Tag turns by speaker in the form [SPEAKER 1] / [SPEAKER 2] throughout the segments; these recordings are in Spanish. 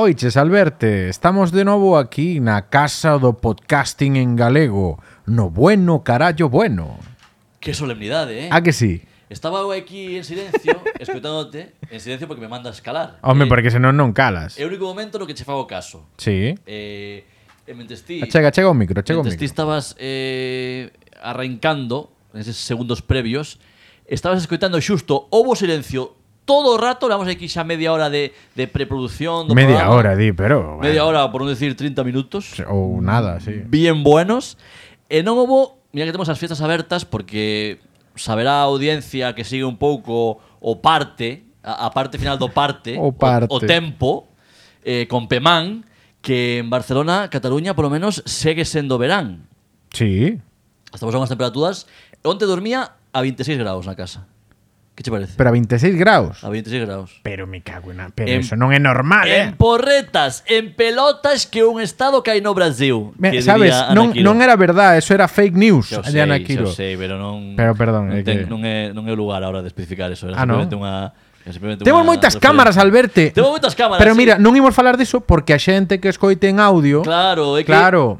[SPEAKER 1] Oiches, Alberte, estamos de novo aquí na Casa do Podcasting en Galego No bueno carallo bueno
[SPEAKER 2] Que solemnidade, eh?
[SPEAKER 1] A que sí?
[SPEAKER 2] Estaba eu aquí en silencio, escoitándote, en silencio porque me mandas calar.
[SPEAKER 1] Home,
[SPEAKER 2] Eh,
[SPEAKER 1] porque senón non calas
[SPEAKER 2] É o único momento no que che fago caso.
[SPEAKER 1] Sí
[SPEAKER 2] Eh, e mentes ti...
[SPEAKER 1] Chega, chega o micro, chega o
[SPEAKER 2] mentes
[SPEAKER 1] micro
[SPEAKER 2] ti estabas eh, arrancando, neses segundos previos, estabas escoitando xusto, houbo silencio todo o rato, levamos aquí xa media hora de, de preproducción do
[SPEAKER 1] Media
[SPEAKER 2] programa.
[SPEAKER 1] hora, di, pero
[SPEAKER 2] Media
[SPEAKER 1] bueno,
[SPEAKER 2] hora, por non decir 30 minutos.
[SPEAKER 1] Ou nada, sí
[SPEAKER 2] bien buenos. E non houbo, mira que temos as fiestas abertas porque saberá a audiencia que sigue un pouco o parte, a, a parte final do parte,
[SPEAKER 1] O parte.
[SPEAKER 2] o, tempo eh, con Pemán que en Barcelona, Cataluña, polo menos segue sendo verán.
[SPEAKER 1] Sí
[SPEAKER 2] Estamos a unhas temperaturas. Onte dormía a 26 graus na casa. Que che parece?
[SPEAKER 1] Pero a 26 graus
[SPEAKER 2] A 26 graus.
[SPEAKER 1] Pero me cago en... a- Pero
[SPEAKER 2] En-
[SPEAKER 1] eso non é normal, eh
[SPEAKER 2] En porretas, en pelotas que un estado que hai no Brasil.
[SPEAKER 1] Me-
[SPEAKER 2] que
[SPEAKER 1] Sabes,
[SPEAKER 2] diría Ana
[SPEAKER 1] non,
[SPEAKER 2] Quiro.
[SPEAKER 1] non era verdade, eso era fake news
[SPEAKER 2] Xa o
[SPEAKER 1] de Ana
[SPEAKER 2] sei,
[SPEAKER 1] Quiro.
[SPEAKER 2] xa o sei, pero non
[SPEAKER 1] Pero, perdón, é
[SPEAKER 2] non, ten,
[SPEAKER 1] que-
[SPEAKER 2] non é non é o lugar ahora de especificar eso, era
[SPEAKER 1] Ah, non?
[SPEAKER 2] simplemente unha era simplemente
[SPEAKER 1] Temos
[SPEAKER 2] unha
[SPEAKER 1] moitas
[SPEAKER 2] referencia.
[SPEAKER 1] cámaras, Alberto.
[SPEAKER 2] Temos moitas cámaras.
[SPEAKER 1] Pero
[SPEAKER 2] sí.
[SPEAKER 1] mira, non imos falar diso porque a xente que escoite en audio,
[SPEAKER 2] claro, é que
[SPEAKER 1] claro,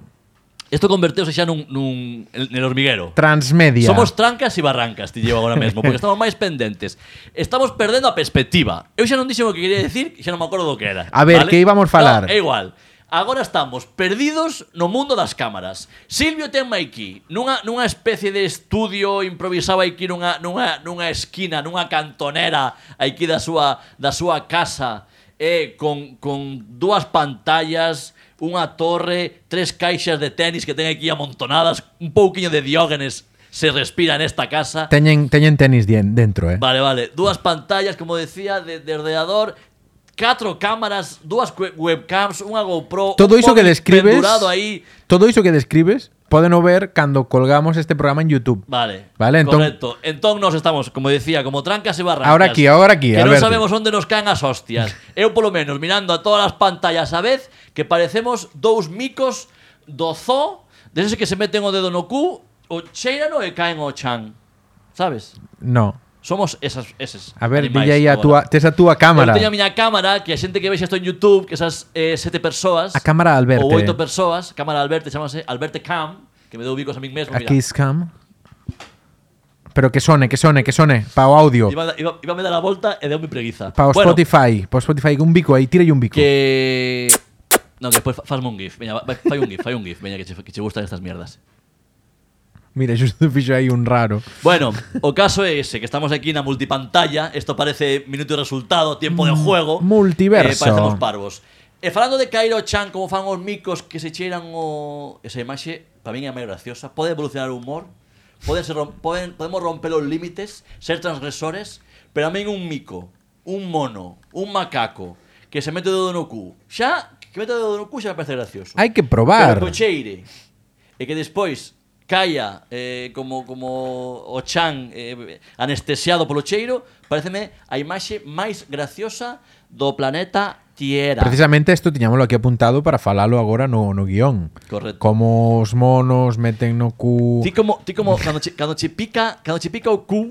[SPEAKER 2] isto converteuse xa nun nun el- nel hormiguero.
[SPEAKER 1] transmedia.
[SPEAKER 2] Somos trancas e barrancas, ti llevo agora mesmo, porque estamos máis pendentes. Estamos perdendo a perspectiva. Eu xa non dixen o que quería decir, e xa non me acordo do que era.
[SPEAKER 1] A ver, que íbamos falar?
[SPEAKER 2] No, é igual. Agora estamos perdidos no mundo das cámaras. Silvio ten aquí nunha, nunha especie de estudio improvisado aquí nunha, nunha, nunha esquina, nunha cantonera aquí da súa, da súa casa eh, con, con dúas pantallas, unha torre, tres caixas de tenis que ten aquí amontonadas, un pouquiño de diógenes se respira nesta casa.
[SPEAKER 1] teñen teñen tenis dien- dentro, eh.
[SPEAKER 2] Vale, vale. Dúas pantallas, como decía, de, de ordenador, catro cámaras, dúas que- webcams, unha GoPro.
[SPEAKER 1] Todo
[SPEAKER 2] un
[SPEAKER 1] iso que
[SPEAKER 2] móvil
[SPEAKER 1] describes-
[SPEAKER 2] pendurado aí.
[SPEAKER 1] Todo iso que describes poden o ver cando colgamos este programa en YouTube.
[SPEAKER 2] Vale.
[SPEAKER 1] Vale, entón-
[SPEAKER 2] Correcto. Entón nos estamos, como decía, como trancas e barrancas.
[SPEAKER 1] Ahora aquí, ahora aquí,
[SPEAKER 2] Que non
[SPEAKER 1] Alberto.
[SPEAKER 2] sabemos onde nos caen as hostias. Eu polo menos mirando a todas as pantallas a vez que parecemos dous micos do zoo, deses que se meten o dedo no cu, o cheirano e caen o chan. ¿Sabes?
[SPEAKER 1] No.
[SPEAKER 2] Somos esas, eses.
[SPEAKER 1] A ver,
[SPEAKER 2] animais
[SPEAKER 1] dille aí a túa,
[SPEAKER 2] agora.
[SPEAKER 1] tes a túa cámara.
[SPEAKER 2] Eu teño a miña cámara, que a xente que vexe isto en YouTube, que esas eh, sete persoas,
[SPEAKER 1] A cámara eh. de Alberto.
[SPEAKER 2] ou oito persoas, cámara Alberto, chamase Alberto Cam, que me deu bicos a min mesmo,
[SPEAKER 1] Aquí scam. Pero que sone, que sone, que sone pa o audio,
[SPEAKER 2] Iba, iba, iba a dar a volta e deu mi preguiza.
[SPEAKER 1] pa o
[SPEAKER 2] Bueno,
[SPEAKER 1] Spotify, pa o Spotify un bico aí, tírelle un bico.
[SPEAKER 2] Que... No, que despois fa- fasme un gif. Veña, va- vai- fai un gif, fai un gif. Veña, que che, que che gustan estas mierdas.
[SPEAKER 1] Mira, xusto fixo aí un raro.
[SPEAKER 2] Bueno, o caso é ese, que estamos aquí na multipantalla, isto parece minuto e resultado, tiempo de juego.
[SPEAKER 1] multiverso.
[SPEAKER 2] Eh, parecemos parvos. E falando de Cairo Chan, como fan os micos que se cheiran o... Esa imaxe, para min é a máis graciosa. Pode evolucionar o humor, pode ser rom... poden... podemos romper os límites, ser transgresores, pero a min un mico, un mono, un macaco, que se mete o dedo no cu. Xa, que mete o dedo no cu xa me parece gracioso.
[SPEAKER 1] Hai que
[SPEAKER 2] Pero
[SPEAKER 1] probar.
[SPEAKER 2] que o cheire E que despois caia eh, como, como o chan eh, anestesiado polo cheiro Pareceme a imaxe máis graciosa do planeta Tierra
[SPEAKER 1] Precisamente isto tiñámoslo aquí apuntado para falalo agora no, no guión.
[SPEAKER 2] Correcto.
[SPEAKER 1] Como os monos meten no cu...
[SPEAKER 2] Ti como, ti como cando, che, cando che pica, cando che pica o cu,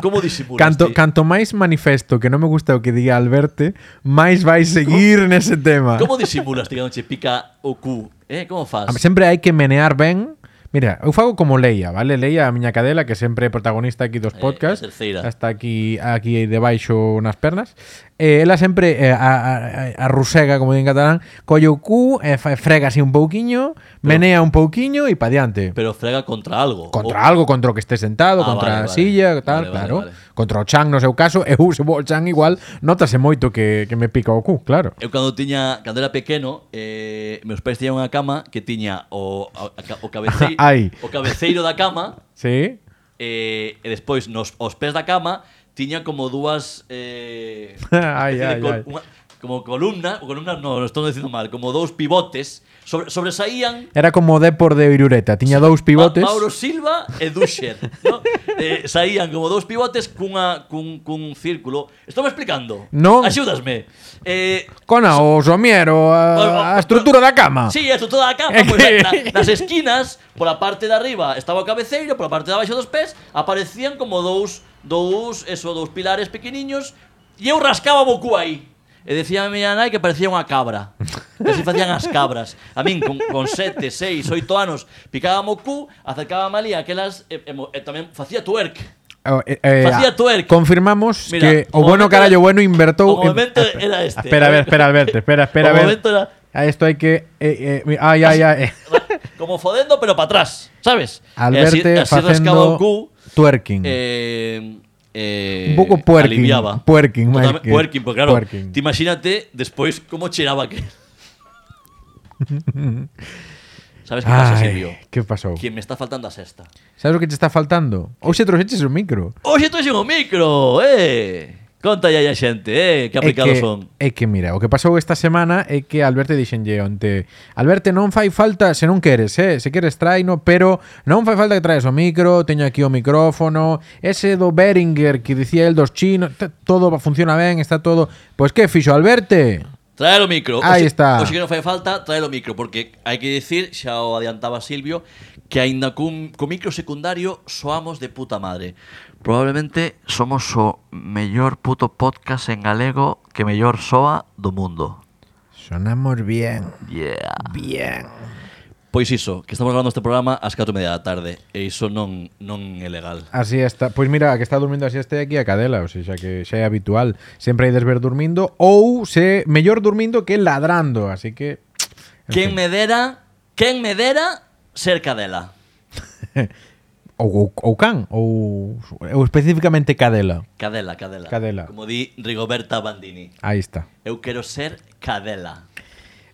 [SPEAKER 2] como disimulas?
[SPEAKER 1] Canto,
[SPEAKER 2] ti?
[SPEAKER 1] canto máis manifesto que non me gusta o que diga Alberto, máis vai seguir nese tema.
[SPEAKER 2] Como disimulas ti cando che pica o cu? Eh, como fas?
[SPEAKER 1] A- Sempre hai que menear ben. Mira, eu fago como Leia, vale? Leia, a miña cadela, que sempre é protagonista aquí dos
[SPEAKER 2] Eh,
[SPEAKER 1] podcasts.
[SPEAKER 2] a terceira.
[SPEAKER 1] Hasta aquí aquí aí debaixo nas pernas. Eh, ela sempre eh, a, a, a rusega, como di en catalán, colle o cu, eh, fa- frega así un pouquiño, menea un pouquiño e pa diante.
[SPEAKER 2] Pero frega contra algo
[SPEAKER 1] Contra algo, contra o que esté sentado,
[SPEAKER 2] Ah,
[SPEAKER 1] contra
[SPEAKER 2] vale,
[SPEAKER 1] a
[SPEAKER 2] vale.
[SPEAKER 1] silla, tal,
[SPEAKER 2] Vale, vale,
[SPEAKER 1] claro.
[SPEAKER 2] vale.
[SPEAKER 1] Contra o chan, no seu caso, eu se vou ao chan igual, notase moito que, que me pica o cu, claro.
[SPEAKER 2] Eu cando tiña, cando era pequeno, eh, meus pais tiñan unha cama que tiña o, a- a ca- o, cabeceiro,
[SPEAKER 1] Ai.
[SPEAKER 2] o cabeceiro da cama
[SPEAKER 1] Sí?
[SPEAKER 2] eh, e despois nos os pés da cama tiña como dúas eh,
[SPEAKER 1] Ai,
[SPEAKER 2] especie de
[SPEAKER 1] ai,
[SPEAKER 2] col-
[SPEAKER 1] ai.
[SPEAKER 2] unha- como columna, o columna non, estou dicindo mal, como dous pivotes sobre, sobresaían
[SPEAKER 1] Era como o Depor de Irureta, tiña dous pivotes.
[SPEAKER 2] Ma Mauro Silva e Dusher, no? eh, saían como dous pivotes cunha cun cun círculo. Estou me explicando?
[SPEAKER 1] Non.
[SPEAKER 2] Axúdasme. Eh,
[SPEAKER 1] Cona, o somiero, a, a estrutura da cama.
[SPEAKER 2] Oh, Sí, eso toda a cama,
[SPEAKER 1] É
[SPEAKER 2] pois,
[SPEAKER 1] que-
[SPEAKER 2] na, nas esquinas, pola parte de arriba estaba o cabeceiro, pola parte de abaixo dos pés aparecían como dous dous, eso, dous pilares pequeniños e eu rascaba o cu aí. E decía a miña nai que parecía unha cabra. Que así facían as cabras. A min, con, con sete, seis, oito anos, picábame o cu, acercábame ali aquelas... E, e, mo- e tamén facía twerk.
[SPEAKER 1] Oh, eh, eh,
[SPEAKER 2] Facía twerk.
[SPEAKER 1] Confirmamos
[SPEAKER 2] Mira,
[SPEAKER 1] que
[SPEAKER 2] o
[SPEAKER 1] o bueno
[SPEAKER 2] momento
[SPEAKER 1] carallo
[SPEAKER 2] era-
[SPEAKER 1] bueno invertou.
[SPEAKER 2] o momento era este.
[SPEAKER 1] em, eh, Espera, a ver, espera, Alberto, espera, espera,
[SPEAKER 2] O
[SPEAKER 1] a ver.
[SPEAKER 2] momento era-
[SPEAKER 1] A esto hay que. eh, eh, mi- ay, ay, ay. eh.
[SPEAKER 2] Como fodendo, pero para atrás, sabes? E así-
[SPEAKER 1] Alberto
[SPEAKER 2] e así
[SPEAKER 1] facendo
[SPEAKER 2] rascaba o cu. Mm.
[SPEAKER 1] twerking.
[SPEAKER 2] eh,
[SPEAKER 1] Un
[SPEAKER 2] eh,
[SPEAKER 1] pouco puerking,
[SPEAKER 2] aliviaba.
[SPEAKER 1] puerking, máis
[SPEAKER 2] Totalme-
[SPEAKER 1] que-
[SPEAKER 2] puerking, porque claro,
[SPEAKER 1] puerking.
[SPEAKER 2] te imagínate despois como cheiraba que... Sabes que pasa,
[SPEAKER 1] Ai,
[SPEAKER 2] Silvio?
[SPEAKER 1] que pasou?
[SPEAKER 2] Que me está faltando a sexta.
[SPEAKER 1] Sabes o que te está faltando? Ou se trouxeches o micro.
[SPEAKER 2] Oxe, tú o micro, eh! Conta aí a xente, eh, que aplicados
[SPEAKER 1] que,
[SPEAKER 2] son.
[SPEAKER 1] É que, mira, o que pasou esta semana é que Alberto dixenlle onte Alberto non fai falta, se non queres, eh, se queres traino, pero non fai falta que traes o micro, teño aquí o micrófono, ese do Beringer que dicía el dos chinos, t- todo funciona ben, está todo... Pois que fixo Alberto?
[SPEAKER 2] Traer o micro.
[SPEAKER 1] Ahí está.
[SPEAKER 2] Oxe que non fai falta, traer o micro, porque hai que dicir, xa o adiantaba Silvio, que aínda cun, co micro secundario soamos de puta madre. Probablemente somos o mellor puto podcast en galego que mellor soa do mundo.
[SPEAKER 1] Sonamos bien,
[SPEAKER 2] Yeah.
[SPEAKER 1] bien.
[SPEAKER 2] Pois iso, que estamos grabando este programa ás 4 media da tarde, e iso non, non é legal.
[SPEAKER 1] Así está. Pois mira, a que está durmindo así este aquí a cadela, ou sea, xa que xa é habitual. Sempre hai desver durmindo ou se mellor durmindo que ladrando, así que en
[SPEAKER 2] Quen
[SPEAKER 1] fin.
[SPEAKER 2] me dera, quen me dera ser cadela.
[SPEAKER 1] Ou, ou, ou can, ou, ou especificamente cadela.
[SPEAKER 2] Cadela, cadela.
[SPEAKER 1] Cadela.
[SPEAKER 2] Como di Rigoberta Bandini.
[SPEAKER 1] Aí está.
[SPEAKER 2] Eu quero ser cadela.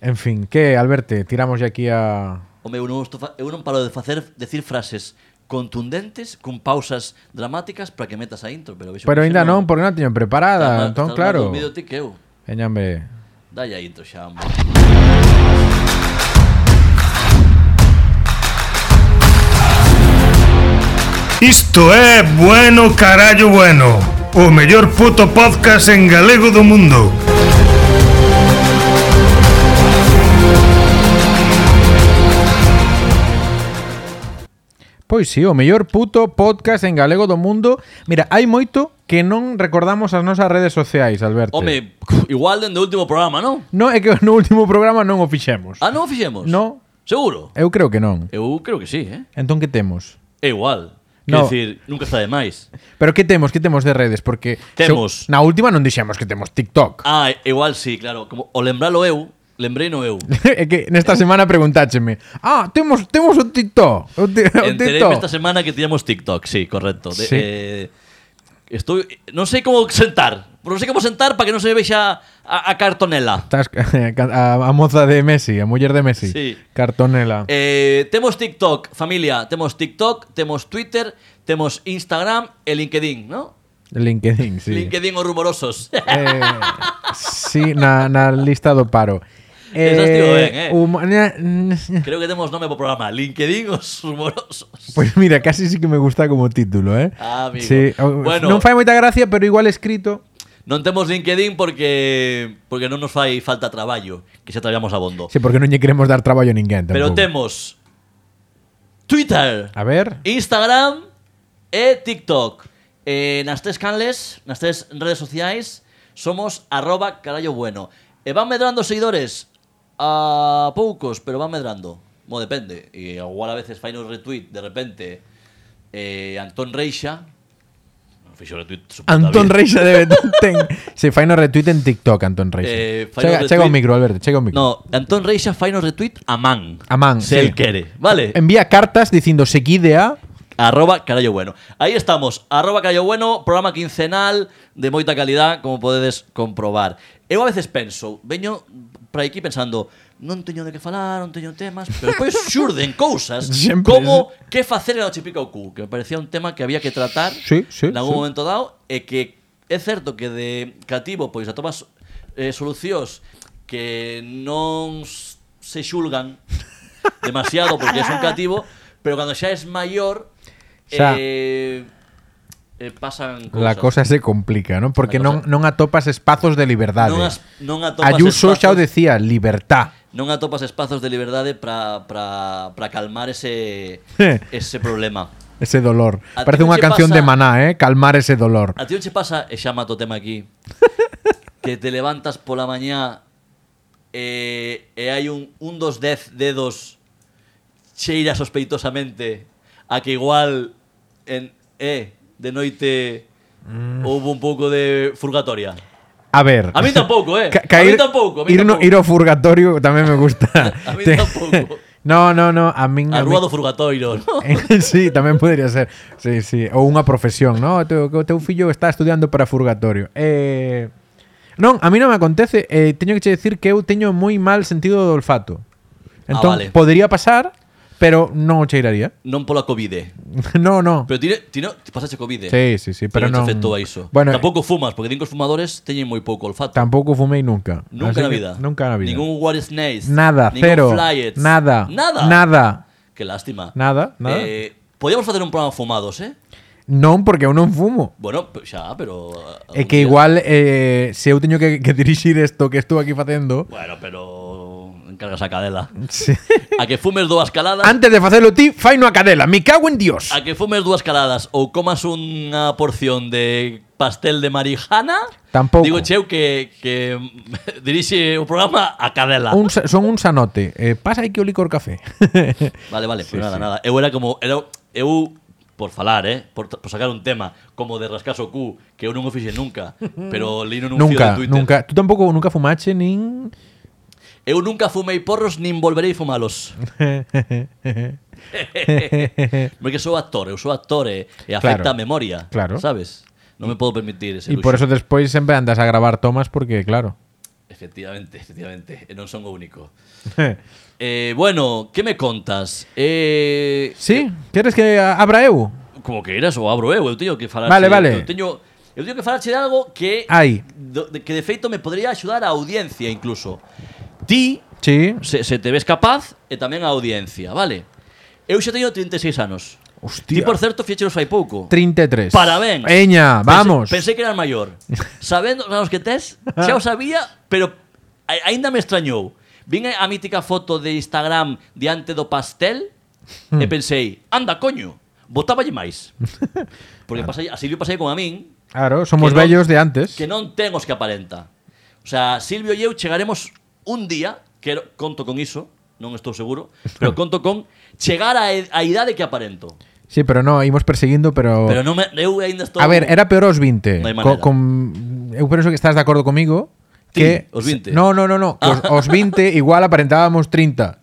[SPEAKER 1] En fin, que, Alberto, tiramos ya aquí a...
[SPEAKER 2] Home, eu non, estou fa- eu non paro de facer decir frases contundentes con pausas dramáticas para que metas a intro, pero vexo
[SPEAKER 1] Pero
[SPEAKER 2] que
[SPEAKER 1] ainda
[SPEAKER 2] se
[SPEAKER 1] non, porque non a teñen preparada,
[SPEAKER 2] Estás ma-
[SPEAKER 1] entón,
[SPEAKER 2] estás
[SPEAKER 1] claro.
[SPEAKER 2] máis dormido ti que eu.
[SPEAKER 1] Veñame...
[SPEAKER 2] Dalle a intro xa, home.
[SPEAKER 3] Isto é Bueno Carallo Bueno O mellor puto podcast en galego do mundo
[SPEAKER 1] Pois sí, o mellor puto podcast en galego do mundo. Mira, hai moito que non recordamos as nosas redes sociais, Alberto.
[SPEAKER 2] Home, igual dende o último programa, non?
[SPEAKER 1] No, é que no último programa non o fixemos.
[SPEAKER 2] Ah, non o fixemos?
[SPEAKER 1] No.
[SPEAKER 2] Seguro?
[SPEAKER 1] Eu creo que non.
[SPEAKER 2] Eu creo que sí, eh?
[SPEAKER 1] Entón, que temos?
[SPEAKER 2] É igual.
[SPEAKER 1] No.
[SPEAKER 2] Quer dicir, nunca está de máis.
[SPEAKER 1] Pero que temos? Que temos de redes? Porque se-
[SPEAKER 2] Temos.
[SPEAKER 1] na última non dixemos que temos TikTok.
[SPEAKER 2] Ah, igual sí, claro. Como o lembralo eu, lembrei no eu.
[SPEAKER 1] é que nesta semana preguntácheme Ah, temos, temos o TikTok O, ti- o
[SPEAKER 2] Enteréme
[SPEAKER 1] TikTok
[SPEAKER 2] esta semana que teníamos TikTok, sí, correcto. De-
[SPEAKER 1] Sí.
[SPEAKER 2] eh, estoy, no sé cómo sentar. No sé cómo sentar para que no se me vea a, a cartonela.
[SPEAKER 1] Estás, a, a moza de Messi, a muller de Messi
[SPEAKER 2] Sí.
[SPEAKER 1] Cartonela
[SPEAKER 2] Eh, temos TikTok, familia. Temos TikTok, temos Twitter, temos Instagram e LinkedIn, ¿no?
[SPEAKER 1] LinkedIn, sí
[SPEAKER 2] LinkedIn o rumorosos.
[SPEAKER 1] eh, Sí, na, na lista do paro
[SPEAKER 2] Esas tivo ben, eh.
[SPEAKER 1] huma- na- n-
[SPEAKER 2] Creo que temos nome pro programa. LinkedIn os rumorosos.
[SPEAKER 1] Pois pues mira, casi sí que me gusta como título, eh
[SPEAKER 2] Ah, amigo.
[SPEAKER 1] sí, o-
[SPEAKER 2] Bueno.
[SPEAKER 1] Non fai moita gracia, pero igual escrito
[SPEAKER 2] Non temos LinkedIn porque porque non nos fai falta traballo, que xa traballamos a bondo.
[SPEAKER 1] Sí, porque non lle queremos dar traballo a ninguén
[SPEAKER 2] Pero
[SPEAKER 1] tampouco.
[SPEAKER 2] temos Twitter.
[SPEAKER 1] A ver
[SPEAKER 2] Instagram e TikTok. Eh, nas tres canles, nas tres redes sociais, somos arroba carallo bueno. E van medrando os seguidores a poucos, pero van medrando. Mo depende. E igual a veces fai un retweet de repente eh, Antón Reixa. Non fixo retweet. su puta
[SPEAKER 1] Antón
[SPEAKER 2] vida.
[SPEAKER 1] Reixa debe ten. Se fai no retweet en TikTok, Antón Reixa.
[SPEAKER 2] Eh, fai
[SPEAKER 1] chega,
[SPEAKER 2] no
[SPEAKER 1] chega o
[SPEAKER 2] retweet.
[SPEAKER 1] micro, Alberto, chega o micro.
[SPEAKER 2] No, Antón Reixa fai un retweet a man.
[SPEAKER 1] A man,
[SPEAKER 2] Se
[SPEAKER 1] sí.
[SPEAKER 2] el quere. Vale.
[SPEAKER 1] Envía cartas dicindo seguide a
[SPEAKER 2] Arroba Carallo Bueno. Aí estamos, arroba Carallo Bueno, programa quincenal de moita calidad, como podedes comprobar. Eu a veces penso, veño para aquí pensando, non teño de que falar, non teño temas, pero despois xurden cousas
[SPEAKER 1] Sempre.
[SPEAKER 2] como que facer a noche pica o cu, que me parecía un tema que había que tratar
[SPEAKER 1] Sí, sí,
[SPEAKER 2] en algún
[SPEAKER 1] sí.
[SPEAKER 2] momento dado, e que é certo que de cativo pois atomas eh, solucións que non s- se xulgan demasiado porque es un cativo, pero cuando ya es mayor,
[SPEAKER 1] Xa.
[SPEAKER 2] eh, eh, pasan cosas.
[SPEAKER 1] la cosa se complica, ¿no? Porque
[SPEAKER 2] La cosa-
[SPEAKER 1] non, non atopas espazos de liberdade.
[SPEAKER 2] non, as, non atopas
[SPEAKER 1] Ayuso xa o
[SPEAKER 2] espazos,
[SPEAKER 1] decía, libertad.
[SPEAKER 2] non atopas espazos de liberdade para calmar ese ese problema.
[SPEAKER 1] Ese dolor.
[SPEAKER 2] A ti
[SPEAKER 1] Parece
[SPEAKER 2] non
[SPEAKER 1] unha
[SPEAKER 2] che
[SPEAKER 1] canción
[SPEAKER 2] pasa-
[SPEAKER 1] de Maná, eh? Calmar ese dolor.
[SPEAKER 2] A ti non che pasa, e xa mato tema aquí, que te levantas pola mañá e, e hai un, un dos dez dedos cheira sospeitosamente a que igual en eh, de noite
[SPEAKER 1] Mm.
[SPEAKER 2] houve un pouco de furgatoria.
[SPEAKER 1] A ver.
[SPEAKER 2] A mí tampoco, eh.
[SPEAKER 1] Ca-
[SPEAKER 2] a
[SPEAKER 1] caer-
[SPEAKER 2] mí tampoco. A mí
[SPEAKER 1] ir, no-
[SPEAKER 2] tampoco.
[SPEAKER 1] ir ao furgatorio también me gusta.
[SPEAKER 2] A mí
[SPEAKER 1] Te-
[SPEAKER 2] tampoco.
[SPEAKER 1] No, no, no. A mí.
[SPEAKER 2] A
[SPEAKER 1] a mí-
[SPEAKER 2] rúa do furgatoiro, ¿no?
[SPEAKER 1] sí, tamén podría ser. Sí, sí, ou unha profesión, no, o teu, o teu fillo está estudiando para furgatorio. Eh, non, a mí non me acontece, eh, teño que che decir que eu teño moi mal sentido do olfato. Entón,
[SPEAKER 2] Ah, vale.
[SPEAKER 1] podría pasar, pero non o cheiraría.
[SPEAKER 2] Non pola Covid.
[SPEAKER 1] no, no.
[SPEAKER 2] Pero eh, tire, tire, ti pasache Covid.
[SPEAKER 1] Sí, sí, sí, pero non-
[SPEAKER 2] non te afectou a iso.
[SPEAKER 1] Bueno,
[SPEAKER 2] tampouco fumas, porque din que os fumadores teñen moi pouco olfato.
[SPEAKER 1] Tampouco fumei nunca.
[SPEAKER 2] Nunca
[SPEAKER 1] Así
[SPEAKER 2] na
[SPEAKER 1] que
[SPEAKER 2] vida.
[SPEAKER 1] Nunca na vida.
[SPEAKER 2] Ningún What is Nice.
[SPEAKER 1] Nada,
[SPEAKER 2] ningún
[SPEAKER 1] cero.
[SPEAKER 2] Flyets.
[SPEAKER 1] Nada.
[SPEAKER 2] Nada.
[SPEAKER 1] Nada.
[SPEAKER 2] Que lástima.
[SPEAKER 1] Nada, nada.
[SPEAKER 2] Eh, podíamos facer un programa fumados, eh?
[SPEAKER 1] Non, porque eu non fumo.
[SPEAKER 2] Bueno, pe- xa, pero... ah,
[SPEAKER 1] É
[SPEAKER 2] algún
[SPEAKER 1] que
[SPEAKER 2] día.
[SPEAKER 1] igual eh, se eu teño que, que dirixir isto que estou aquí facendo,
[SPEAKER 2] Bueno, pero... Encargas a cadela.
[SPEAKER 1] sí.
[SPEAKER 2] A que fumes dúas caladas...
[SPEAKER 1] antes de facelo ti, fai a cadela. Me cago en Dios.
[SPEAKER 2] A que fumes dúas caladas ou comas unha porción de pastel de marijana
[SPEAKER 1] Tampouco.
[SPEAKER 2] Digo cheu que, que dirixe o programa a cadela
[SPEAKER 1] Un sa- son un sanote. Eh, pasa aí que o licor café.
[SPEAKER 2] Vale, vale, pues
[SPEAKER 1] Sí,
[SPEAKER 2] nada,
[SPEAKER 1] sí.
[SPEAKER 2] nada Eu era como, era, eu, por falar, eh, por, por sacar un tema Como de rascar o cu, que eu non o fixe nunca Pero lino nun fío
[SPEAKER 1] nunca,
[SPEAKER 2] de Twitter
[SPEAKER 1] nunca. Tú tampouco nunca fumache nin
[SPEAKER 2] Eu nunca fumei porros nin volverei fumalos Porque sou actor, eu sou actor e, e afecta
[SPEAKER 1] Claro.
[SPEAKER 2] a memoria
[SPEAKER 1] Claro.
[SPEAKER 2] Sabes? Non me podo permitir ese
[SPEAKER 1] E por
[SPEAKER 2] luxo.
[SPEAKER 1] eso despois sempre andas a gravar tomas porque claro.
[SPEAKER 2] Efectivamente, efectivamente. E non son o único. Eh, bueno, que me contas? Eh,
[SPEAKER 1] sí, queres que a- abra eu?
[SPEAKER 2] Como que eras o abro eu, eu teño que falar.
[SPEAKER 1] Vale, vale.
[SPEAKER 2] Eu teño, eu teño que falarche de algo que
[SPEAKER 1] Ai.
[SPEAKER 2] do- de, que de feito me podría axudar a audiencia incluso. Ti
[SPEAKER 1] Sí.
[SPEAKER 2] se, se te ves capaz e tamén a audiencia, vale? Eu xa teño 36 anos. Ti,
[SPEAKER 1] Hostia.
[SPEAKER 2] por certo, fiecheros fai pouco.
[SPEAKER 1] 33.
[SPEAKER 2] Parabéns.
[SPEAKER 1] Eña, vamos.
[SPEAKER 2] Pensé, pensé que eras maior. Sabendo os anos que tes, xa o sabía, pero a- aínda me extrañou. Vin a a mítica foto de Instagram diante do pastel
[SPEAKER 1] Hmm.
[SPEAKER 2] e pensei, anda, coño, botáballe máis. Porque pasai, a Silvio pasai con a min,
[SPEAKER 1] Claro, somos
[SPEAKER 2] que non-
[SPEAKER 1] bellos de antes.
[SPEAKER 2] que non ten os que aparenta. O sea, Silvio e eu chegaremos un día, quero, conto con iso, non estou seguro, pero conto con chegar a, e- a idade que aparento.
[SPEAKER 1] Sí, pero no, íbamos perseguindo, pero
[SPEAKER 2] Pero non me, eu aínda estou
[SPEAKER 1] Oh. A ver, era peor os 20.
[SPEAKER 2] No hai
[SPEAKER 1] Co,
[SPEAKER 2] maneira.
[SPEAKER 1] con, eu penso que estás de acordo comigo que
[SPEAKER 2] Ti, os 20.
[SPEAKER 1] No, no, no, no, que
[SPEAKER 2] Ah.
[SPEAKER 1] os, os 20 igual aparentábamos 30.